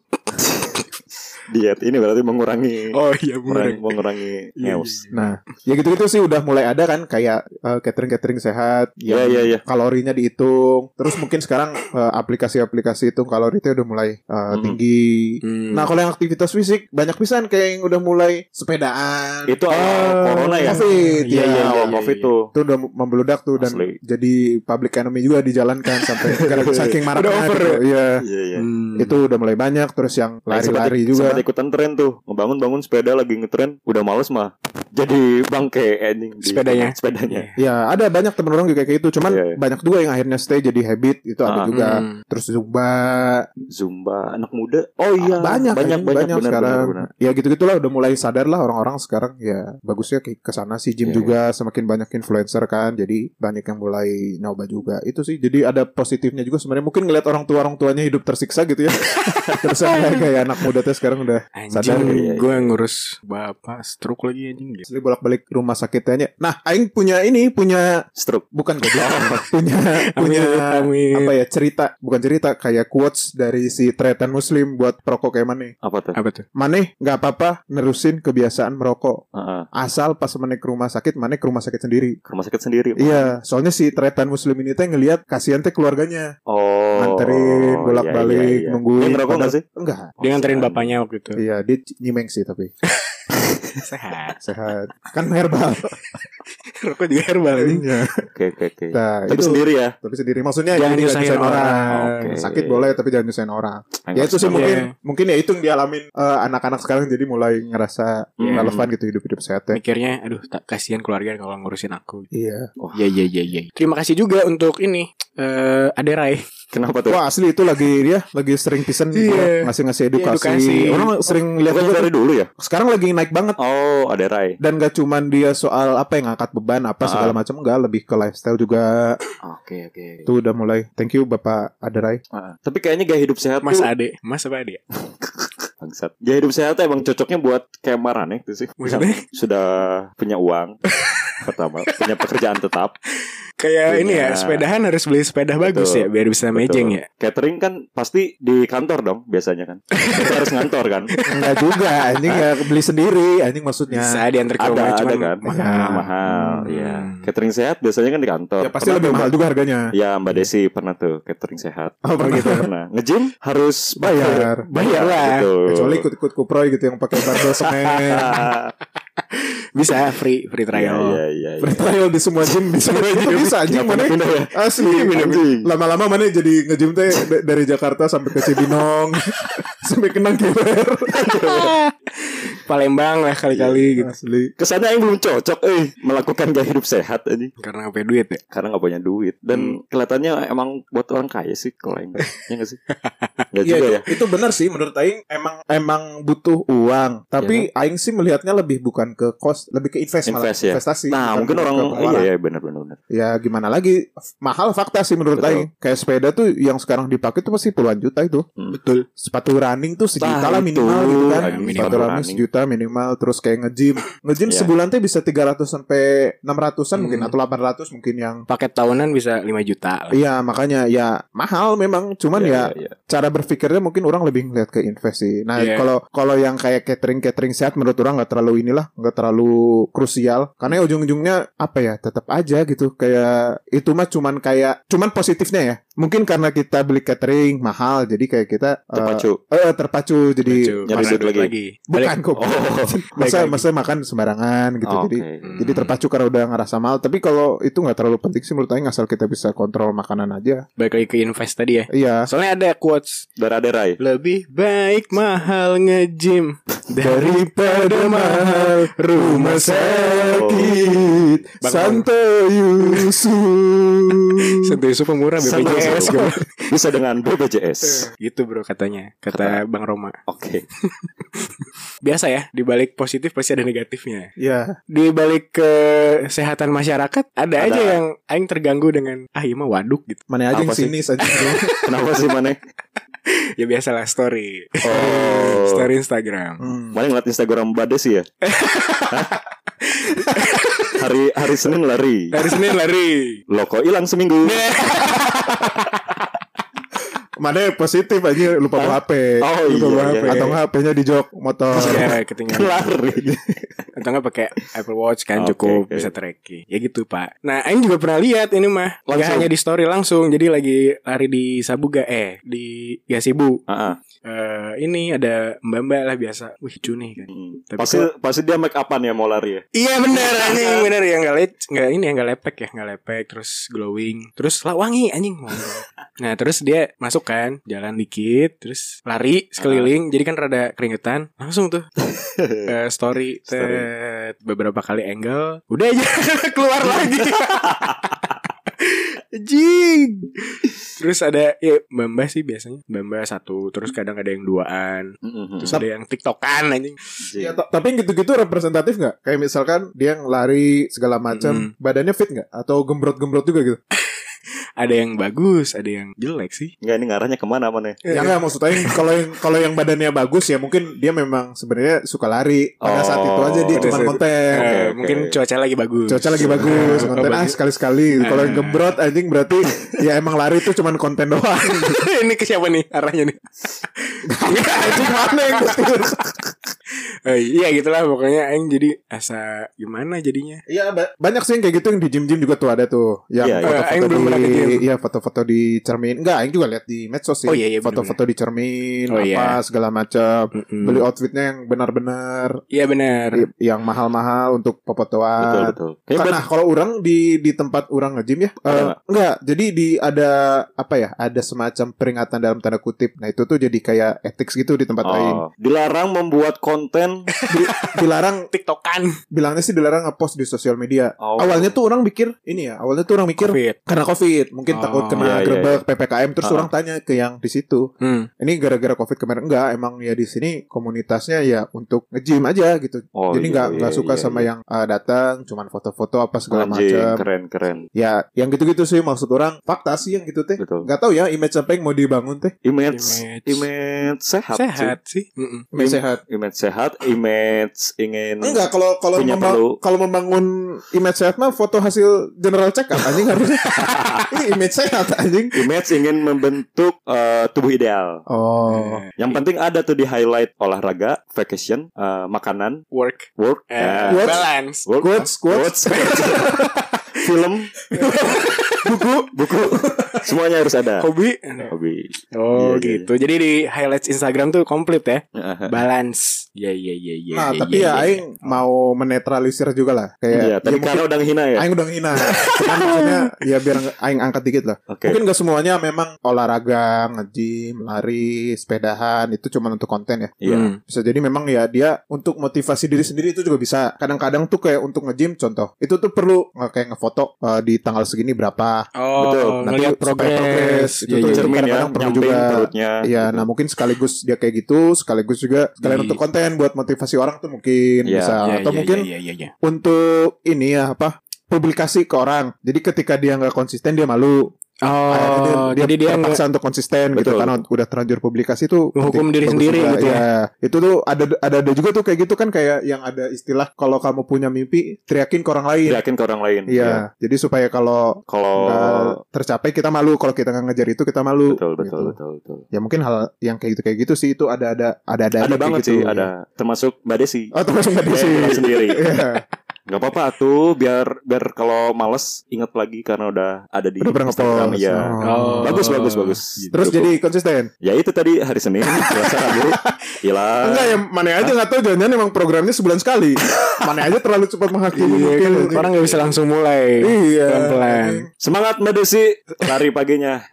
Speaker 1: Diet ini berarti mengurangi
Speaker 3: Oh iya
Speaker 1: mengurangi,
Speaker 3: bener.
Speaker 1: mengurangi ngeus.
Speaker 2: nah ya gitu-gitu sih udah mulai ada kan kayak eh, catering-catering sehat
Speaker 1: Ya
Speaker 3: Iya,
Speaker 1: ya ya.
Speaker 2: kalorinya dihitung. Terus mungkin sekarang eh, aplikasi-aplikasi hitung kalori itu udah mulai eh,
Speaker 1: Hmm.
Speaker 2: tinggi.
Speaker 3: Hmm.
Speaker 2: Nah, kalau yang aktivitas fisik banyak pisan kayak yang udah mulai sepedaan.
Speaker 1: Itu
Speaker 2: Ah.
Speaker 1: awal corona ya.
Speaker 2: Covid,
Speaker 1: Iya
Speaker 2: ya.
Speaker 1: iya awal
Speaker 3: iya,
Speaker 1: covid
Speaker 3: iya.
Speaker 1: tuh.
Speaker 2: Eh, Itu udah membeludak tuh dan
Speaker 1: Asli.
Speaker 2: jadi public enemy juga dijalankan sampai karena saking maraknya
Speaker 3: Udah over
Speaker 2: gitu. Iya.
Speaker 1: Iya iya.
Speaker 3: Hmm.
Speaker 2: Itu udah mulai banyak terus yang lari-lari
Speaker 1: Sempat-
Speaker 2: juga.
Speaker 1: sempat ikutan tren tuh ngebangun bangun sepeda lagi ngetren udah males mah jadi bangke ending di-
Speaker 3: Sepedanya. Iya.
Speaker 1: sepedanya
Speaker 3: Hmm.
Speaker 2: Ya, ada banyak temen orang juga kayak gitu. Cuman
Speaker 1: Iya, iya.
Speaker 2: banyak juga yang akhirnya stay jadi habit itu ada
Speaker 1: Ah,
Speaker 2: juga.
Speaker 3: Hmm.
Speaker 2: Terus zumba,
Speaker 1: zumba anak muda oh iya
Speaker 2: banyak
Speaker 1: banyak
Speaker 2: anjing,
Speaker 1: banyak, benar,
Speaker 2: sekarang
Speaker 1: benar, benar.
Speaker 2: ya gitu gitulah udah mulai sadar lah orang-orang sekarang ya bagusnya ke ke sana sih gym
Speaker 1: Iya,
Speaker 2: juga semakin banyak influencer kan jadi banyak yang mulai nyoba juga itu sih jadi ada positifnya juga sebenarnya mungkin ngeliat orang tua orang tuanya hidup tersiksa gitu ya terus kayak kayak anak muda tuh sekarang udah
Speaker 3: Anjing,
Speaker 2: Sadar,
Speaker 1: iya, iya.
Speaker 3: gue ngurus bapak stroke lagi anjing. gitu.
Speaker 2: asli bolak-balik rumah sakitnya nah aing punya ini punya
Speaker 1: stroke
Speaker 2: bukan goblok
Speaker 1: Oh.
Speaker 2: punya punya
Speaker 3: amin.
Speaker 2: apa ya cerita bukan cerita kayak quotes dari si tretan muslim buat perokok kayak mana
Speaker 1: apa tuh
Speaker 3: Apa tuh?
Speaker 2: Maneh nggak apa-apa nerusin kebiasaan merokok
Speaker 1: Heeh.
Speaker 2: asal pas meneh ke rumah sakit maneh ke rumah sakit sendiri
Speaker 1: Ah, ke rumah sakit sendiri
Speaker 2: iya soalnya si tretan muslim ini teh ngelihat kasihan teh keluarganya
Speaker 1: oh
Speaker 2: Nganterin, bolak-balik, nungguin. Nah,
Speaker 1: Dia ngerokok nggak sih
Speaker 2: enggak
Speaker 3: Dia nganterin bapaknya waktu itu.
Speaker 2: iya dia c- nyimeng sih tapi
Speaker 3: Sehat.
Speaker 2: sehat kan herbal
Speaker 3: Rokok juga herbal anjing.
Speaker 2: Iya.
Speaker 1: oke oke oke
Speaker 2: nah,
Speaker 1: tapi
Speaker 2: itu
Speaker 1: sendiri ya
Speaker 2: tapi sendiri maksudnya
Speaker 3: Jangan
Speaker 2: Eh, jadi nggak
Speaker 3: nyusahin orang.
Speaker 1: Oke.
Speaker 2: sakit boleh tapi jangan nyusahin orang ya itu sih
Speaker 3: Iya.
Speaker 2: mungkin mungkin ya itu yang dialamin eh, anak-anak sekarang jadi mulai ngerasa
Speaker 1: Iya.
Speaker 2: relevan gitu hidup-hidup sehat teh
Speaker 3: Mikirnya, aduh, tak kasihan keluarga kalau ngurusin aku.
Speaker 2: iya
Speaker 3: Iya iya iya iya. Terima kasih juga untuk ini eh Aderai.
Speaker 1: kenapa tuh
Speaker 2: wah asli itu lagi dia lagi sering pisan
Speaker 3: Iya.
Speaker 2: ngasih ngasih
Speaker 3: Iya, edukasi.
Speaker 2: edukasi orang sering lihat
Speaker 1: Bukan
Speaker 2: juga
Speaker 1: dari dulu ya
Speaker 2: sekarang lagi naik banget
Speaker 1: oh ada Rai
Speaker 2: dan gak cuman dia soal apa yang ngangkat beban apa
Speaker 1: Ah.
Speaker 2: segala macam enggak lebih ke lifestyle juga
Speaker 1: oke oke
Speaker 2: itu udah mulai thank you bapak Aderai
Speaker 1: Heeh. tapi kayaknya gaya hidup sehat
Speaker 3: Mas
Speaker 1: tuh
Speaker 3: Ade. Mas apa Ade?
Speaker 1: bangsat gaya hidup sehat tuh emang cocoknya buat kayak marane itu sih
Speaker 3: Maksudnya
Speaker 1: sudah punya uang pertama punya pekerjaan tetap
Speaker 3: kayak ini ya,
Speaker 1: Iya.
Speaker 3: sepedahan harus beli sepeda bagus ya biar bisa mejeng ya.
Speaker 1: catering kan pasti di kantor dong biasanya kan Kita harus ngantor kan
Speaker 2: enggak juga anjing ya beli sendiri anjing maksudnya
Speaker 3: Bisa diantar ke
Speaker 1: ada
Speaker 3: rumah
Speaker 1: ada
Speaker 3: cuman
Speaker 1: kan
Speaker 3: mahal.
Speaker 1: Nah, mahal ya
Speaker 3: Hmm.
Speaker 1: catering sehat biasanya kan di kantor
Speaker 2: ya pasti
Speaker 1: Pernah
Speaker 2: lebih
Speaker 1: tuh,
Speaker 2: mahal juga harganya
Speaker 1: Mbak- ya mbak Desi pernah tuh catering sehat
Speaker 2: oh begitu
Speaker 1: pernah ngejim harus
Speaker 2: bayar
Speaker 3: Bayar lah.
Speaker 1: gitu.
Speaker 2: kecuali ikut-ikut kuproy gitu yang pakai barbel semen
Speaker 1: Ah,
Speaker 3: Bisa free free
Speaker 1: iya
Speaker 3: trial.
Speaker 1: iya iya iya.
Speaker 2: bertrial di semua gym di semua gym bisa anjing
Speaker 1: Kenapa
Speaker 2: mana
Speaker 1: pindah ya?
Speaker 2: asli
Speaker 1: Anjing.
Speaker 2: lama-lama mana jadi ngejim teh da- dari Jakarta sampai ke Cibinong sampai kenang kiler
Speaker 3: Palembang lah
Speaker 2: Iya.
Speaker 3: kali-kali gitu.
Speaker 2: asli
Speaker 1: kesannya yang belum cocok eh melakukan gaya hidup sehat ini
Speaker 3: Karena apa duit ya?
Speaker 1: karena nggak punya duit
Speaker 2: Hmm.
Speaker 1: dan kelihatannya emang buat orang kaya sih kalau yang ya nggak sih nggak
Speaker 2: Iya,
Speaker 1: juga ya
Speaker 2: itu- itu benar sih menurut Aing emang emang butuh uang. Tapi Aing sih melihatnya lebih bukan ke cost, lebih ke invest
Speaker 1: Iya, kan?
Speaker 2: malah
Speaker 1: Invest ya.
Speaker 2: investasi.
Speaker 1: nah
Speaker 2: bukan
Speaker 1: mungkin
Speaker 2: ke
Speaker 1: orang
Speaker 2: pengeluaran.
Speaker 1: iya ya benar benar benar
Speaker 2: Ya gimana lagi mahal fakta sih menurut
Speaker 1: Betul.
Speaker 2: Aing. Kayak sepeda tuh yang sekarang dipakai tuh pasti puluhan juta itu.
Speaker 1: Hmm.
Speaker 3: Betul.
Speaker 2: Sepatu running tuh sejuta
Speaker 1: Nah,
Speaker 2: lah minimal
Speaker 1: itu.
Speaker 2: gitu kan.
Speaker 1: Ah,
Speaker 3: minimal
Speaker 2: Sepatu running
Speaker 1: running.
Speaker 2: sejuta minimal terus kayak nge-gym. Nge-gym
Speaker 1: Iya.
Speaker 2: sebulan tuh bisa 300 sampai 600-an mungkin
Speaker 3: Hmm.
Speaker 2: atau 800 mungkin yang
Speaker 3: Paket tahunan bisa 5 juta lah.
Speaker 2: Iya makanya ya mahal memang
Speaker 1: Iya,
Speaker 2: cuman ya cara berpikirnya mungkin orang lebih ngeliat ke invest sih. Nah,
Speaker 3: Iya.
Speaker 2: kalau kalau yang kayak catering catering sehat menurut orang nggak terlalu inilah, nggak terlalu krusial karena ya ujung-ujungnya apa ya tetap aja gitu kayak itu mah cuman kayak cuman positifnya ya. mungkin karena kita beli catering mahal jadi kayak kita eh,
Speaker 1: Terpacu.
Speaker 2: eh, terpacu jadi
Speaker 1: nyari
Speaker 3: Masa
Speaker 1: duit lagi.
Speaker 2: bukan kok
Speaker 1: Oh.
Speaker 2: masa
Speaker 3: lagi.
Speaker 2: masa makan sembarangan gitu
Speaker 1: Oke.
Speaker 2: jadi
Speaker 3: Hmm.
Speaker 2: jadi terpacu karena udah ngerasa mahal tapi kalau itu nggak terlalu penting sih menurut saya asal kita bisa kontrol makanan aja
Speaker 3: Hmm. Balik lagi ke invest tadi ya
Speaker 2: iya
Speaker 3: Soalnya ada quotes
Speaker 1: Darah derai.
Speaker 3: Lebih baik mahal nge-gym Daripada mahal rumah
Speaker 1: sakit.
Speaker 3: Bang-
Speaker 2: Santo Yusuf
Speaker 3: Santo Yusuf murah BPJS
Speaker 1: Santo Bisa dengan
Speaker 2: Eh.
Speaker 1: BPJS.
Speaker 3: Gitu bro katanya Kata Bang Roma
Speaker 1: Oke.
Speaker 3: Biasa ya Di balik positif pasti ada negatifnya
Speaker 2: ya
Speaker 3: Di balik kesehatan masyarakat Ada, aja yang Aing terganggu dengan Ah iya mah waduk gitu
Speaker 2: mana aja yang
Speaker 1: Apa sih?
Speaker 2: sinis aja
Speaker 1: Kenapa sih Mane?
Speaker 3: Ya biasalah story
Speaker 1: Oh.
Speaker 3: Story Instagram
Speaker 2: Hmm.
Speaker 1: Mane ngeliat Instagram Bade sih ya. Hah? hari hari Senin lari.
Speaker 3: Hari Senin lari
Speaker 1: Lo kok hilang seminggu?
Speaker 2: mana yang positif aja lupa bawa
Speaker 1: Oh,
Speaker 2: HP lupa ya.
Speaker 1: iya,
Speaker 2: bawa
Speaker 1: iya.
Speaker 2: HP atau nggak HP-nya di jok motor
Speaker 3: Ya ketinggalan
Speaker 1: lari.
Speaker 3: Atau nggak pakai Apple Watch kan
Speaker 1: Oke,
Speaker 3: cukup
Speaker 1: oke.
Speaker 3: bisa tracking. Ya gitu pak. Nah Aing juga pernah lihat ini mah. Nggak
Speaker 1: Langsung.
Speaker 3: hanya di story langsung. Jadi lagi lari di Sabuga eh di Gasibu.
Speaker 1: Heeh.
Speaker 3: Eh ini ada mbak mbak lah biasa. Wih cu nih kan. Tapi
Speaker 1: Pasti pasti dia make upan ya mau lari ya.
Speaker 3: Iya bener anjing bener ya nggak lec nggak ini ya nggak lepek ya nggak lepek terus glowing terus lah wangi anjing. nah terus dia masuk kan jalan dikit terus lari sekeliling jadi kan rada keringetan langsung tuh eh, story,
Speaker 1: Story.
Speaker 3: tet, beberapa kali angle udah aja keluar lagi jing terus ada ya bamba sih biasanya bamba satu terus kadang ada yang duaan
Speaker 1: Mm-mm.
Speaker 3: terus ada yang tiktokan anjing
Speaker 2: Ya, ta- tapi yang gitu-gitu representatif nggak? Kayak misalkan dia yang lari segala macam, badannya fit nggak? Atau gembrot-gembrot juga gitu?
Speaker 3: ada yang bagus ada yang jelek sih
Speaker 1: Enggak ini ngarahnya kemana Mane?
Speaker 2: Ya nggak maksud aing kalau yang kalau yang badannya bagus ya mungkin dia memang sebenarnya suka lari. Pada
Speaker 1: Oh.
Speaker 2: saat itu aja dia
Speaker 3: Pada
Speaker 2: cuma
Speaker 3: saat-
Speaker 2: konten.
Speaker 3: Eh,
Speaker 1: Oke, oke.
Speaker 3: mungkin cuaca lagi bagus
Speaker 2: Cuaca lagi bagus, konten
Speaker 3: Oh,
Speaker 2: ah
Speaker 3: bagus.
Speaker 2: sekali-sekali. Kalau yang
Speaker 3: Eh.
Speaker 2: gembrot anjing berarti ya emang lari itu cuma konten doang.
Speaker 3: ini ke siapa nih arahnya nih
Speaker 2: Anjing mana yang gitu?
Speaker 3: Eh, iya gitulah pokoknya aing jadi asa gimana jadinya
Speaker 2: Iya ba- banyak sih yang kayak gitu yang di gym-gym juga tuh ada tuh yang
Speaker 1: Iya, iya.
Speaker 3: Eh, Aing belum
Speaker 2: foto-foto
Speaker 3: pernah ke
Speaker 2: di
Speaker 3: gym.
Speaker 2: iya foto-foto di cermin. Enggak, aing juga lihat di medsos sih.
Speaker 3: Oh, iya, iya,
Speaker 2: foto-foto di cermin
Speaker 3: Oh,
Speaker 2: apa
Speaker 3: iya.
Speaker 2: segala macam.
Speaker 3: Mm-mm.
Speaker 2: Beli outfitnya yang benar-benar
Speaker 3: iya benar
Speaker 2: i- yang mahal-mahal untuk
Speaker 1: Betul
Speaker 2: pepotoan.
Speaker 1: betul. Kayaknya
Speaker 2: Ah, Karena kalau orang di di tempat orang nge-gym ya, eh,
Speaker 1: Ada
Speaker 2: enggak. Jadi di ada apa ya? Ada semacam peringatan dalam tanda kutip. Nah, itu tuh jadi kayak ethics gitu di tempat lain.
Speaker 1: Oh, dilarang membuat konten
Speaker 2: Di- dilarang
Speaker 3: tiktokan
Speaker 2: bilangnya sih dilarang nge-post di sosial media.
Speaker 1: Oh.
Speaker 2: Awalnya tuh orang mikir ini ya, awalnya tuh orang mikir
Speaker 3: covid
Speaker 2: karena covid mungkin
Speaker 3: Oh,
Speaker 2: takut
Speaker 1: iya,
Speaker 2: kena
Speaker 1: iya,
Speaker 2: gerbek ppkm terus
Speaker 1: Ah.
Speaker 2: orang tanya ke yang di situ
Speaker 3: Hmm.
Speaker 2: ini gara-gara covid kemarin enggak emang ya di sini komunitasnya ya untuk nge-gym aja gitu
Speaker 1: Oh,
Speaker 2: jadi
Speaker 1: iya,
Speaker 2: nggak
Speaker 1: iya,
Speaker 2: nggak suka
Speaker 1: iya,
Speaker 2: sama
Speaker 1: iya.
Speaker 2: yang eh, datang cuman foto-foto apa segala
Speaker 1: Anjing,
Speaker 2: macam
Speaker 1: keren keren.
Speaker 2: ya yang gitu-gitu sih maksud orang fakta sih yang gitu teh
Speaker 1: Betul.
Speaker 2: nggak tahu ya image apa yang mau dibangun teh
Speaker 1: Image
Speaker 3: Image.
Speaker 1: image sehat. sih.
Speaker 3: sehat sih Mm-mm.
Speaker 2: image sehat
Speaker 1: Image sehat, image ingin
Speaker 2: enggak kalau kalau
Speaker 1: Punya
Speaker 2: memba-
Speaker 1: perlu.
Speaker 2: kalau membangun image sehat mah foto hasil general check up anjing harusnya ini image sehat anjing
Speaker 1: image ingin membentuk eh, tubuh ideal.
Speaker 2: oh
Speaker 3: Eh,
Speaker 1: Yang penting ada tuh di highlight olahraga, vacation, eh, makanan,
Speaker 3: work
Speaker 1: work,
Speaker 3: Eh,
Speaker 1: eh,
Speaker 2: Work.
Speaker 3: balance
Speaker 1: work,
Speaker 2: quotes quotes
Speaker 1: quotes, film, buku, buku, semuanya harus ada.
Speaker 3: hobi
Speaker 1: Hobi.
Speaker 3: oh
Speaker 1: Iya, iya,
Speaker 3: gitu jadi di highlights Instagram tuh komplit ya
Speaker 1: Heeh.
Speaker 3: balance iya iya iya iya
Speaker 2: Nah,
Speaker 3: iya,
Speaker 2: tapi
Speaker 3: iya,
Speaker 2: ya
Speaker 3: iya.
Speaker 2: aing mau menetralisir juga lah. Kayak
Speaker 1: Oh. Iya, tadi
Speaker 2: ya mungkin
Speaker 1: karena udah ngehina ya.
Speaker 2: aing udah ngina. Cuman maksudnya ya biar nge- aing angkat dikit lah.
Speaker 1: Oke.
Speaker 2: Mungkin gak semuanya memang olahraga, nge-gym, lari, sepedahan itu cuma untuk konten ya.
Speaker 1: Iya.
Speaker 3: Hmm.
Speaker 2: Bisa jadi memang ya dia untuk motivasi diri sendiri itu juga bisa. Kadang-kadang tuh kayak untuk nge-gym contoh. Itu tuh perlu eh, kayak ngefoto eh, di tanggal segini berapa.
Speaker 3: oh
Speaker 1: Betul,
Speaker 3: ngelihat
Speaker 2: supaya
Speaker 3: progres Iya,
Speaker 2: Itu tuh
Speaker 3: iya.
Speaker 1: Cermin ya,
Speaker 2: kadang-kadang perlu
Speaker 1: nyamping
Speaker 2: juga.
Speaker 1: perutnya.
Speaker 2: Iya,
Speaker 1: gitu.
Speaker 2: nah mungkin sekaligus dia kayak gitu, sekaligus juga sekalian
Speaker 3: Di-
Speaker 2: untuk konten buat motivasi orang tuh mungkin
Speaker 1: Iya,
Speaker 2: bisa
Speaker 3: Iya,
Speaker 2: atau
Speaker 3: iya,
Speaker 2: mungkin
Speaker 3: iya, iya, iya.
Speaker 2: untuk ini ya apa publikasi ke orang. Jadi ketika dia nggak konsisten dia malu. Akhirnya
Speaker 3: oh jadi dia nggak-
Speaker 2: terpaksa untuk konsisten
Speaker 1: Betul.
Speaker 2: gitu karena udah terlanjur publikasi itu
Speaker 3: Menghukum
Speaker 2: penting-
Speaker 3: diri
Speaker 2: bagus
Speaker 3: sendiri
Speaker 2: juga.
Speaker 3: gitu ya.
Speaker 2: Iya. Itu tuh ada ada ada juga tuh kayak gitu kan kayak yang ada istilah kalau kamu punya mimpi teriakin ke orang lain.
Speaker 1: Yakin ke orang lain.
Speaker 2: Iya. Nah, Jadi supaya
Speaker 3: Oh.
Speaker 2: kalau
Speaker 1: Kalau
Speaker 2: nggak tercapai kita malu kalau kita nggak ngejar itu kita malu.
Speaker 1: betul betul
Speaker 2: Gitu.
Speaker 1: betul betul.
Speaker 2: Ya mungkin hal yang kayak gitu kayak gitu sih itu ada ada ada ada,
Speaker 1: Ada banget sih, ada termasuk Mbak Desi.
Speaker 2: Oh terus nggak di
Speaker 1: Saya
Speaker 2: sini.
Speaker 1: bilang Iya, sendiri.
Speaker 2: Iya.
Speaker 1: Gak apa-apa tuh biar biar kalau males inget lagi karena udah ada di
Speaker 2: Udah pernah
Speaker 1: Instagram
Speaker 2: ngepost.
Speaker 1: ya.
Speaker 3: Oh.
Speaker 1: Bagus bagus bagus.
Speaker 2: Terus
Speaker 1: Gitu.
Speaker 2: jadi konsisten.
Speaker 1: ya itu tadi hari Senin, Selasa, Rabu, hilang.
Speaker 2: Enggak ya, mana aja nggak tahu jangan-jangan emang programnya sebulan sekali. mana aja terlalu cepat
Speaker 3: Iya
Speaker 2: menghakimi mungkin.
Speaker 3: kan orang nggak bisa langsung mulai.
Speaker 2: Iya.
Speaker 3: Pelan-pelan.
Speaker 1: Semangat Mbak Desi lari paginya.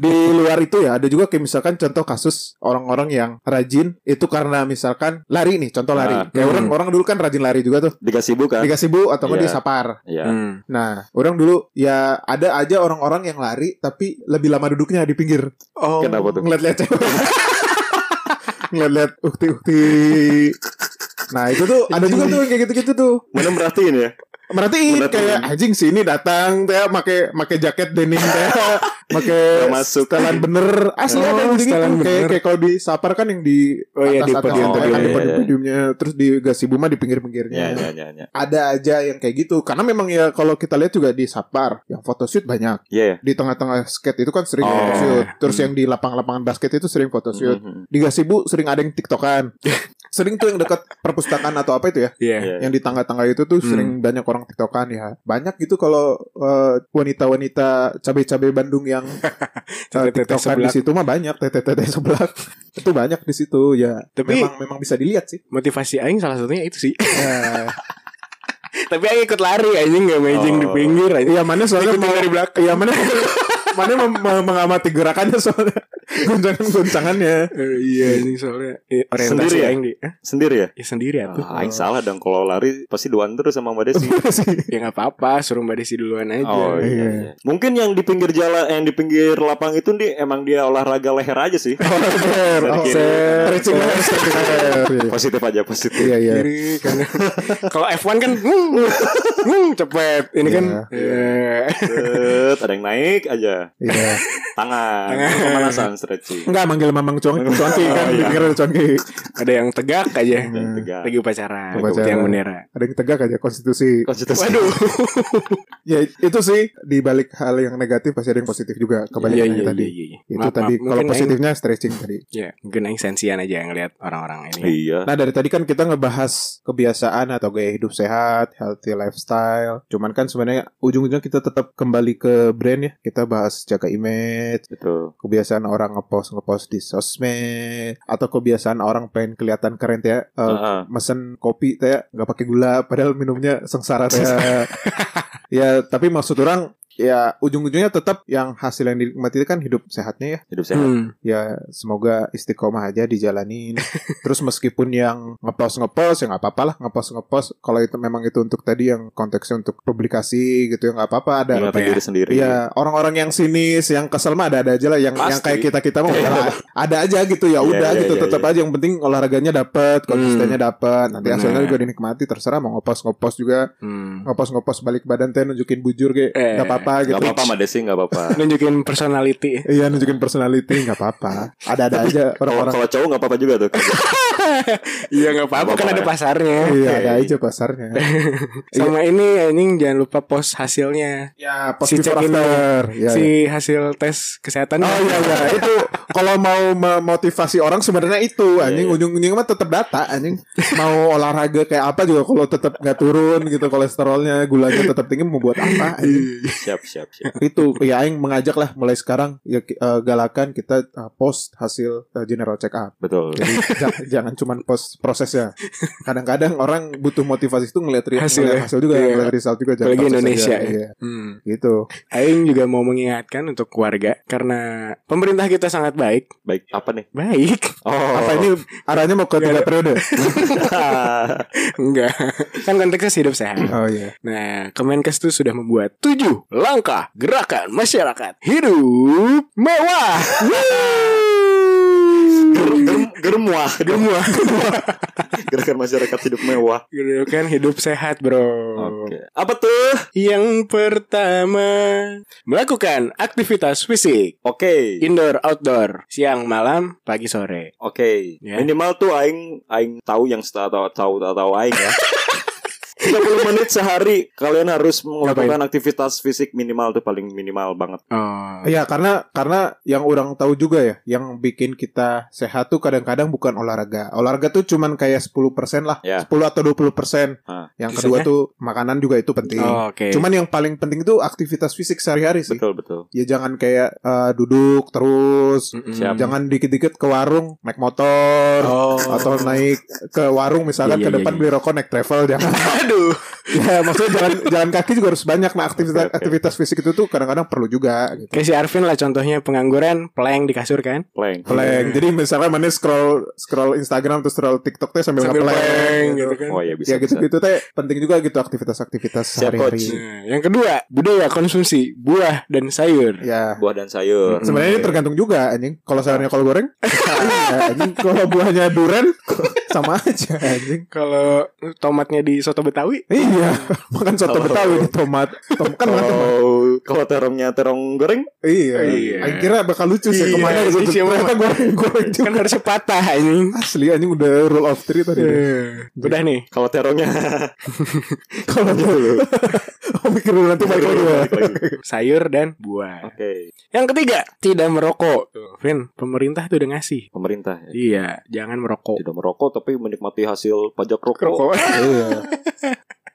Speaker 2: Di luar itu ya ada juga kayak misalkan contoh kasus orang-orang yang rajin itu karena misalkan lari nih, contoh lari.
Speaker 1: Ah.
Speaker 2: Kayak
Speaker 3: Hmm.
Speaker 2: orang orang dulu kan rajin lari juga tuh.
Speaker 1: Dikasih bukan?
Speaker 2: Dikasih bu atau nggak
Speaker 1: Iya.
Speaker 2: disapar.
Speaker 1: Ya.
Speaker 3: Hmm.
Speaker 2: Nah, orang dulu ya ada aja orang-orang yang lari tapi lebih lama duduknya di pinggir.
Speaker 3: Oh.
Speaker 1: Kenapa tuh?
Speaker 2: Ngeliat-liat cewek. Ngeliat-liat ukti-ukti. Nah, itu tuh ada juga tuh yang kayak gitu-gitu tuh.
Speaker 1: Mana merhatiin ya?
Speaker 2: Merhatiin
Speaker 1: Merhatiin.
Speaker 2: kayak anjing sini datang teh make make jaket denim teh make
Speaker 1: Nggak masuk.
Speaker 2: setelan bener
Speaker 3: Oh,
Speaker 2: asli ada yang gitu
Speaker 3: setelan
Speaker 2: kayak
Speaker 3: bener.
Speaker 2: kayak kalau di sapar kan yang di
Speaker 3: Oh iya, di
Speaker 2: atas atas
Speaker 3: podium-podium.
Speaker 2: kan, di
Speaker 1: Iya, iya, iya.
Speaker 2: podium-podiumnya terus di gasibu mah di pinggir-pinggirnya
Speaker 1: Ya ya ya ya.
Speaker 2: ada aja yang kayak gitu karena memang ya kalau kita lihat juga di Sapar yang photoshoot banyak
Speaker 1: Iya ya.
Speaker 2: di tengah-tengah skate itu kan
Speaker 1: Oh.
Speaker 2: sering photoshoot terus
Speaker 3: Hmm.
Speaker 2: yang di lapang-lapangan basket itu sering photoshoot
Speaker 1: Mhm.
Speaker 2: di Gasibu sering ada yang tiktokan sering tuh yang dekat perpustakaan atau apa itu ya
Speaker 3: Iya.
Speaker 1: Iya.
Speaker 2: yang di tangga-tangga itu tuh
Speaker 3: Hmm.
Speaker 2: sering banyak orang tiktokan ya banyak gitu kalau eh, wanita-wanita cabai-cabai Bandung yang eh,
Speaker 3: Teteh-teteh
Speaker 2: tiktokan di
Speaker 3: sebelah.
Speaker 2: situ mah banyak teteh-teteh sebelah itu banyak di situ ya
Speaker 3: Tapi-
Speaker 2: memang memang bisa dilihat sih
Speaker 3: Motivasi aing salah satunya itu sih.
Speaker 2: Eh,
Speaker 3: Tapi aing ikut lari anjing nggak mejing di
Speaker 1: Oh.
Speaker 3: pinggir anjing.
Speaker 2: Iya mana soalnya
Speaker 3: Ikutin
Speaker 2: mau
Speaker 3: dari belakang.
Speaker 2: Iya mana mana mem- mem- mengamati gerakannya soalnya goncangan-goncangannya.
Speaker 3: Eh, iya anjing soalnya eh, orientasi
Speaker 1: Sendiri ya?
Speaker 3: aing di. Hah?
Speaker 1: Sendiri ya?
Speaker 3: Ya sendiri atuh.
Speaker 1: Ah, aing salah dong kalau lari pasti doan terus sama Mbak Desi.
Speaker 3: Ya nggak apa-apa, suruh Mbak Desi duluan aja.
Speaker 1: Oh iya,
Speaker 2: Iya.
Speaker 1: iya. Mungkin yang di pinggir jalan, yang di pinggir lapang itu nih emang dia olahraga leher aja sih.
Speaker 3: Iya.
Speaker 2: Ser,
Speaker 1: Dari kiri.
Speaker 2: ser, stretching leher, stretching leher.
Speaker 1: Positif aja positif.
Speaker 2: Oh, Iya iya.
Speaker 3: Kiri kan. Kalau F1 kan hmm, hmm, cepet. Ini kan eh,
Speaker 1: Set, ada yang naik aja.
Speaker 2: Iya.
Speaker 1: Tangan, pemanasan stretching.
Speaker 2: Enggak manggil Mamang Cong, Congki
Speaker 1: Oh,
Speaker 2: kan
Speaker 1: iya.
Speaker 2: dipikir ada Congki.
Speaker 3: ada yang tegak aja.
Speaker 1: Dan tegak.
Speaker 3: Lagi upacara,
Speaker 2: Upacara.
Speaker 3: yang bendera.
Speaker 2: Ada yang tegak aja konstitusi.
Speaker 1: Konstitusi.
Speaker 3: Waduh.
Speaker 2: Ya itu sih di balik hal yang negatif pasti ada yang positif juga
Speaker 3: Iya,
Speaker 2: kebalikannya
Speaker 3: iya,
Speaker 2: tadi.
Speaker 3: iya, iya.
Speaker 2: Itu
Speaker 3: Maaf,
Speaker 2: tadi
Speaker 3: maaf.
Speaker 2: kalau
Speaker 3: Mungkin
Speaker 2: positifnya stretching tadi.
Speaker 3: Ya, mungkin aing sensian aja ngelihat orang-orang ini.
Speaker 1: Iya.
Speaker 2: Nah dari tadi kan kita ngebahas kebiasaan atau gaya hidup sehat, healthy lifestyle. Cuman kan sebenarnya ujung-ujungnya kita tetap kembali ke brand ya. Kita bahas jaga image,
Speaker 1: Betul.
Speaker 2: kebiasaan orang ngepost ngepost di sosmed, atau kebiasaan orang pengen kelihatan keren teh. ya. Eh,
Speaker 1: Heeh.
Speaker 2: mesen kopi teh nggak pakai gula, padahal minumnya sengsara teh. ya tapi maksud orang ya ujung-ujungnya tetap yang hasil yang dinikmati itu kan hidup sehatnya ya
Speaker 1: Hidup sehat.
Speaker 3: Hmm.
Speaker 2: ya semoga istiqomah aja dijalanin terus meskipun yang ngepost ngepost ya nggak apa-apa lah ngepost ngepost kalau itu memang itu untuk tadi yang konteksnya untuk publikasi gitu ya nggak apa-apa ada
Speaker 1: Ingat
Speaker 3: apa ya?
Speaker 1: diri sendiri.
Speaker 2: Ya orang-orang yang sinis, yang kesel mah ada-ada aja lah, yang
Speaker 1: Pasti.
Speaker 2: yang kayak kita kita mah udahlah. ada aja gitu ya,
Speaker 1: Iya,
Speaker 2: udah
Speaker 1: iya,
Speaker 2: gitu
Speaker 1: iya,
Speaker 2: tetap
Speaker 1: iya. Hmm.
Speaker 2: aja yang penting olahraganya dapat, konsistennya dapat, nanti
Speaker 3: Bener.
Speaker 2: hasilnya juga dinikmati terserah mau ngopos ngopos juga,
Speaker 3: Hmm.
Speaker 2: ngopos ngopos balik badan teh nunjukin bujur kayak
Speaker 3: Eh,
Speaker 2: nggak apa-apa
Speaker 1: Gak
Speaker 2: gitu.
Speaker 1: apa-apa Mbak Desi gak apa-apa
Speaker 3: Nunjukin personality.
Speaker 2: Iya nunjukin personality nggak apa-apa, ada-ada aja
Speaker 1: Kalau
Speaker 2: orang-orang
Speaker 1: kalau cowok gak apa-apa juga tuh
Speaker 3: Iya, nggak apa-apa
Speaker 1: Nggak
Speaker 3: kan
Speaker 1: apa-apa
Speaker 3: ada
Speaker 1: ya.
Speaker 3: pasarnya.
Speaker 2: Iya ada
Speaker 1: Oke. Eh,
Speaker 2: aja pasarnya.
Speaker 3: Sama ini anjing jangan lupa post hasilnya.
Speaker 2: ya
Speaker 3: Si check in
Speaker 2: Ya,
Speaker 3: si
Speaker 2: ya.
Speaker 3: hasil tes kesehatan.
Speaker 2: Oh iya iya itu kalau mau memotivasi orang sebenarnya itu anjing
Speaker 1: iya.
Speaker 2: ujung-ujungnya mah tetap data anjing mau olahraga kayak apa juga kalau tetap nggak turun gitu kolesterolnya gulanya tetap tinggi mau buat
Speaker 3: Iya.
Speaker 2: apa anjing.
Speaker 1: Siap siap siap
Speaker 2: itu ya aing mengajak lah mulai sekarang ya ki- eh, galakan kita eh, post hasil eh, general check up
Speaker 1: Betul
Speaker 2: jadi jangan, jangan cuman post prosesnya kadang-kadang orang butuh motivasi itu ngeliat, re-
Speaker 3: Hasil
Speaker 2: ngeliat
Speaker 3: ya.
Speaker 2: hasil juga
Speaker 3: Iya.
Speaker 2: ngeliat result juga jangan
Speaker 3: Apalagi
Speaker 2: proses
Speaker 3: Indonesia
Speaker 2: aja.
Speaker 3: ya.
Speaker 2: Iya,
Speaker 3: Hmm.
Speaker 2: gitu
Speaker 3: Aing juga mau mengingatkan untuk warga karena pemerintah kita sangat baik,
Speaker 1: Baik apa nih
Speaker 3: baik.
Speaker 1: Oh
Speaker 2: Apa ini arahnya mau ke
Speaker 3: Iya.
Speaker 2: tiga periode?
Speaker 3: Enggak. Kan konteksnya hidup sehat.
Speaker 2: Oh iya.
Speaker 3: Nah, Kemenkes itu sudah membuat 7 langkah gerakan masyarakat hidup mewah.
Speaker 1: Germuah
Speaker 3: Gemua.
Speaker 1: Gerakan masyarakat hidup mewah
Speaker 3: Gerakan hidup sehat, Bro.
Speaker 1: Oke Apa tuh
Speaker 3: Yang pertama, melakukan aktivitas fisik
Speaker 1: Oke
Speaker 3: indoor outdoor, siang malam, pagi sore.
Speaker 1: Oke
Speaker 3: Ya.
Speaker 1: Minimal tuh Aing Aing tahu yang tahu tahu tahu Aing ya 30 menit sehari kalian harus melakukan
Speaker 3: Ngapain?
Speaker 1: aktivitas fisik minimal tuh paling minimal banget.
Speaker 3: Oh.
Speaker 2: Iya karena karena yang orang tahu juga ya yang bikin kita sehat tuh kadang-kadang bukan olahraga. Olahraga tuh cuman kayak 10% lah.
Speaker 3: Iya.
Speaker 1: Ya.
Speaker 2: 10 atau 20%.
Speaker 1: Ah.
Speaker 2: Yang
Speaker 3: Sisanya?
Speaker 2: kedua tuh makanan juga itu penting.
Speaker 3: Oh, Oke.
Speaker 2: Cuman yang paling penting tuh aktivitas fisik sehari-hari sih.
Speaker 1: Betul betul.
Speaker 2: Ya jangan kayak eh, duduk terus.
Speaker 3: Mm-mm.
Speaker 1: Siap.
Speaker 2: Jangan dikit-dikit ke warung naik motor
Speaker 3: Oh.
Speaker 2: atau naik ke warung misalkan
Speaker 3: Iya,
Speaker 2: ke
Speaker 3: iya,
Speaker 2: depan
Speaker 3: iya.
Speaker 2: beli rokok naik travel jangan.
Speaker 3: Aduh.
Speaker 2: ya maksudnya jalan jalan kaki juga harus banyak nah
Speaker 1: Oke,
Speaker 2: aktivitas
Speaker 1: oke.
Speaker 2: aktivitas fisik itu tuh kadang-kadang perlu juga gitu.
Speaker 3: Kayak si Arvin lah contohnya pengangguran, peleng di kasur kan?
Speaker 1: Plank.
Speaker 2: Plank. Jadi misalnya mana scroll scroll Instagram terus scroll TikTok teh sambil,
Speaker 3: Sambil
Speaker 2: nge-plank
Speaker 3: peleng gitu kan.
Speaker 1: Oh iya bisa.
Speaker 2: Ya gitu
Speaker 1: bisa.
Speaker 2: gitu teh penting juga gitu aktivitas-aktivitas
Speaker 1: Siap,
Speaker 2: sehari-hari.
Speaker 3: Nah, yang kedua, budaya konsumsi buah dan sayur.
Speaker 2: Ya.
Speaker 1: Buah dan sayur.
Speaker 2: Sebenarnya ini tergantung juga anjing. Kalau sayurnya kol goreng, iya, anjing kalau buahnya duren sama aja anjing.
Speaker 3: Kalau tomatnya di soto Betawi,
Speaker 2: Iya, makan soto
Speaker 1: Kalau-
Speaker 2: Betawi tomat. Tom, kan
Speaker 3: Oh.
Speaker 2: makan tomat.
Speaker 1: Kalau Oh, kalau terongnya terong goreng,
Speaker 2: Iya.
Speaker 3: Iya.
Speaker 2: Anjing kira bakal lucu sih
Speaker 3: Iya,
Speaker 2: kemana gitu.
Speaker 3: iya,
Speaker 2: Ternyata goreng goreng juga.
Speaker 3: kan harusnya patah ini.
Speaker 2: Asli anjing udah rule of three tadi.
Speaker 3: Iya.
Speaker 2: deh.
Speaker 3: Udah nih.
Speaker 1: kalau terongnya
Speaker 2: Kalau
Speaker 3: Iya.
Speaker 2: dulu. Oh mikir dulu nanti balik lagi. ya.
Speaker 1: Balik lagi.
Speaker 3: Sayur dan buah.
Speaker 1: Oke,
Speaker 3: Yang ketiga, tidak merokok. Tuh, Vin, pemerintah tuh udah ngasih.
Speaker 1: pemerintah ya.
Speaker 3: Iya, jangan merokok.
Speaker 1: tidak merokok tapi menikmati hasil pajak rokok.
Speaker 2: Iya.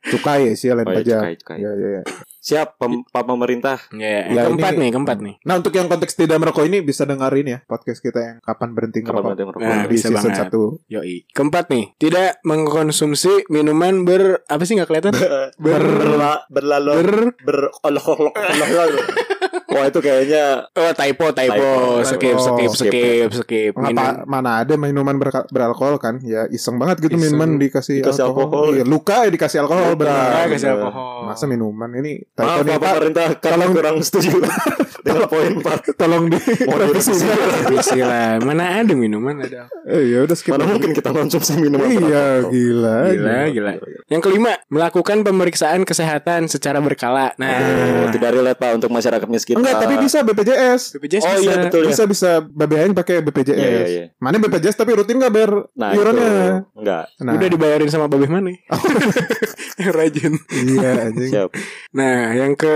Speaker 2: Cukai sih lain
Speaker 1: Oh, iya,
Speaker 2: pajak.
Speaker 1: cukai, cukai.
Speaker 2: Iya, iya, iya.
Speaker 1: Siap pem- Pak pemerintah.
Speaker 3: Iya,
Speaker 2: Ya,
Speaker 3: yang keempat
Speaker 2: ini-
Speaker 3: nih, keempat nih.
Speaker 2: Nah untuk yang konteks tidak merokok ini bisa dengerin ya podcast kita yang kapan berhenti
Speaker 1: Kapan
Speaker 2: ngerokok.
Speaker 1: berhenti merokok?
Speaker 3: Nah,
Speaker 2: Di
Speaker 3: bisa
Speaker 2: season
Speaker 3: banget.
Speaker 2: satu.
Speaker 3: Yoi. Keempat nih, tidak mengkonsumsi minuman ber apa sih nggak kelihatan?
Speaker 1: Berla- berlalu
Speaker 3: Ber
Speaker 1: berolok-olok. Wah, itu kayaknya
Speaker 3: oh typo typo,
Speaker 1: Typo.
Speaker 3: skip
Speaker 2: Typo.
Speaker 3: skip
Speaker 1: Skip.
Speaker 3: ya. skip skip.
Speaker 2: Apa, mana ada minuman berka- beralkohol kan? Ya iseng banget gitu
Speaker 3: Iseng.
Speaker 2: minuman dikasih,
Speaker 1: Dikasih alkohol.
Speaker 2: Iya, luka ya dikasih alkohol
Speaker 1: Luka,
Speaker 2: benar. Iya.
Speaker 1: dikasih
Speaker 3: alkohol.
Speaker 2: Masa minuman ini
Speaker 1: Maaf, ya,
Speaker 2: nih,
Speaker 1: Pak
Speaker 2: Nah, Pak,
Speaker 1: pemerintah kami
Speaker 2: tolong-
Speaker 1: kurang setuju dengan poin Pak.
Speaker 2: tolong di
Speaker 1: Mohon
Speaker 2: revisi.
Speaker 1: direvisi.
Speaker 3: Revisi lah. Mana ada minuman ada. alkohol.
Speaker 2: Eh, ya udah skip.
Speaker 1: Mana
Speaker 2: aja.
Speaker 1: mungkin kita konsumsi minuman
Speaker 2: Iya,
Speaker 1: beralkohol.
Speaker 2: gila.
Speaker 3: Gila, gila. Yang kelima, melakukan pemeriksaan kesehatan secara berkala.
Speaker 1: Oh,
Speaker 3: Nah,
Speaker 1: tidak relate Pak untuk masyarakat miskin. Ah,
Speaker 2: Enggak,
Speaker 1: Pak.
Speaker 2: tapi bisa BPJS.
Speaker 3: BPJS
Speaker 1: Oh,
Speaker 3: bisa.
Speaker 1: iya, betul. ya.
Speaker 2: bisa bisa babeain pakai BPJS.
Speaker 1: Iya, iya, iya.
Speaker 2: Mana BPJS tapi rutin nggak bayar
Speaker 1: Nah, itu
Speaker 2: iurannya?
Speaker 1: enggak.
Speaker 2: Nah,
Speaker 3: Udah dibayarin sama Babeh mana? Yang rajin.
Speaker 2: iya anjing.
Speaker 1: Siap.
Speaker 3: Nah, yang ke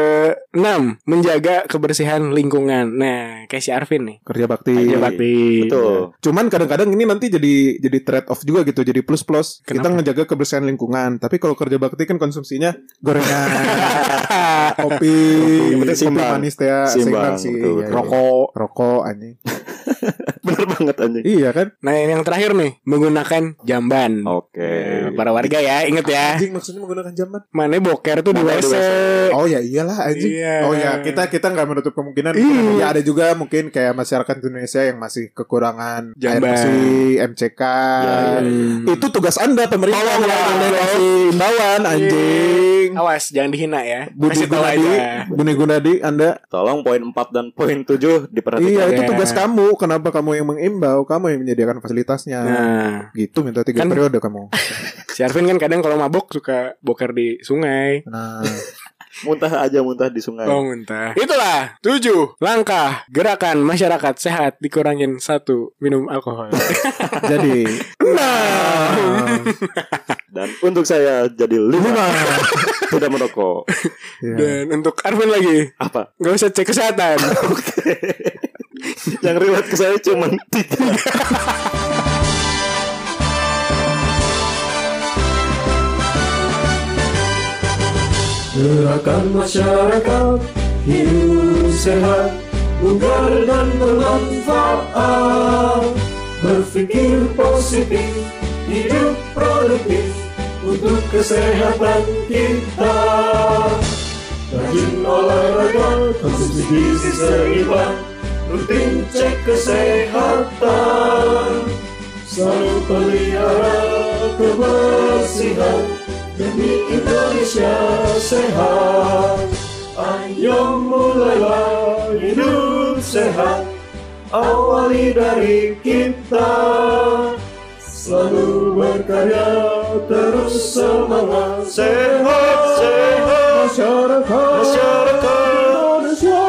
Speaker 3: enam menjaga kebersihan lingkungan. Nah, kayak si Arvin nih.
Speaker 2: Kerja bakti.
Speaker 1: Iya,
Speaker 3: Iya, bakti.
Speaker 1: Betul.
Speaker 2: Cuman kadang-kadang ini nanti jadi jadi trade off juga gitu, jadi plus plus. Kita
Speaker 3: Kenapa?
Speaker 2: ngejaga kebersihan lingkungan, tapi kalau kerja bakti kan konsumsinya gorengan, kopi,
Speaker 1: Yang penting
Speaker 2: kopi
Speaker 1: seimbang.
Speaker 2: manis teh, seimbang
Speaker 1: Seimbang,
Speaker 2: sih,
Speaker 1: betul,
Speaker 2: iya,
Speaker 1: betul.
Speaker 2: iya.
Speaker 3: Rokok.
Speaker 2: rokok anjing.
Speaker 1: Bener banget anjing.
Speaker 2: iya kan?
Speaker 3: Nah, yang terakhir nih menggunakan jamban.
Speaker 1: Oke.
Speaker 3: Nah,
Speaker 2: Iya.
Speaker 3: para warga ya, inget
Speaker 1: Eh.
Speaker 3: ya.
Speaker 2: Anjing maksudnya menggunakan jamban.
Speaker 3: Mana boker tuh di
Speaker 1: Mana di
Speaker 3: WC.
Speaker 2: Oh ya iyalah anjing.
Speaker 3: Iya.
Speaker 2: Oh ya kita kita nggak menutup kemungkinan.
Speaker 3: Iya.
Speaker 2: Ya ada juga mungkin kayak masyarakat Indonesia yang masih kekurangan air
Speaker 3: Jamban. Hmm.
Speaker 2: bersih, MCK.
Speaker 1: iya,
Speaker 2: Itu tugas anda pemerintah.
Speaker 3: Tolong lah,
Speaker 2: Anda
Speaker 3: tolong.
Speaker 2: kasih himbauan anjing.
Speaker 3: Awas, jangan dihina ya.
Speaker 2: Budi
Speaker 3: Kasih tahu
Speaker 2: Gunadi,
Speaker 3: aja.
Speaker 2: Budi Gunadi, anda.
Speaker 1: Tolong poin 4 dan poin 7 diperhatikan.
Speaker 2: Iya
Speaker 3: Iya.
Speaker 2: itu tugas kamu. Kenapa kamu yang mengimbau? Kamu yang menyediakan fasilitasnya.
Speaker 3: Nah,
Speaker 2: Gitu minta tiga
Speaker 3: Kan-
Speaker 2: periode kamu.
Speaker 3: si Arvin kan kadang kalau mabok suka boker di sungai.
Speaker 2: Nah,
Speaker 1: Muntah aja muntah di sungai.
Speaker 3: Oh, muntah. Itulah tujuh langkah gerakan masyarakat sehat dikurangin satu minum alkohol.
Speaker 2: jadi. Nah.
Speaker 1: Dan untuk saya jadi lima tidak merokok.
Speaker 2: Iya.
Speaker 3: Dan untuk Arvin lagi,
Speaker 1: Apa?
Speaker 3: nggak usah cek kesehatan.
Speaker 1: Yang relate ke saya cuma tiga.
Speaker 5: Gerakan masyarakat hidup sehat, bugar dan bermanfaat. Berpikir positif, hidup produktif untuk kesehatan kita. Rajin olahraga, konsumsi gizi seimbang, rutin cek kesehatan. Selalu pelihara kebersihan demi Indonesia sehat. Ayo mulailah hidup sehat, awali dari kita. Selalu berkarya, terus semangat, sehat, sehat. Masyarakat, masyarakat Indonesia.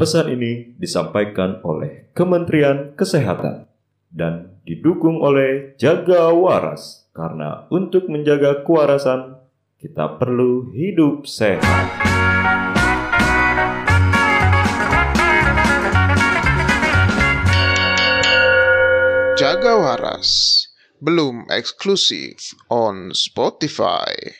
Speaker 6: Pesan ini disampaikan oleh Kementerian Kesehatan dan didukung oleh Jaga Waras.
Speaker 1: Karena untuk menjaga kewarasan, kita perlu hidup sehat.
Speaker 7: Jaga Waras belum eksklusif on Spotify.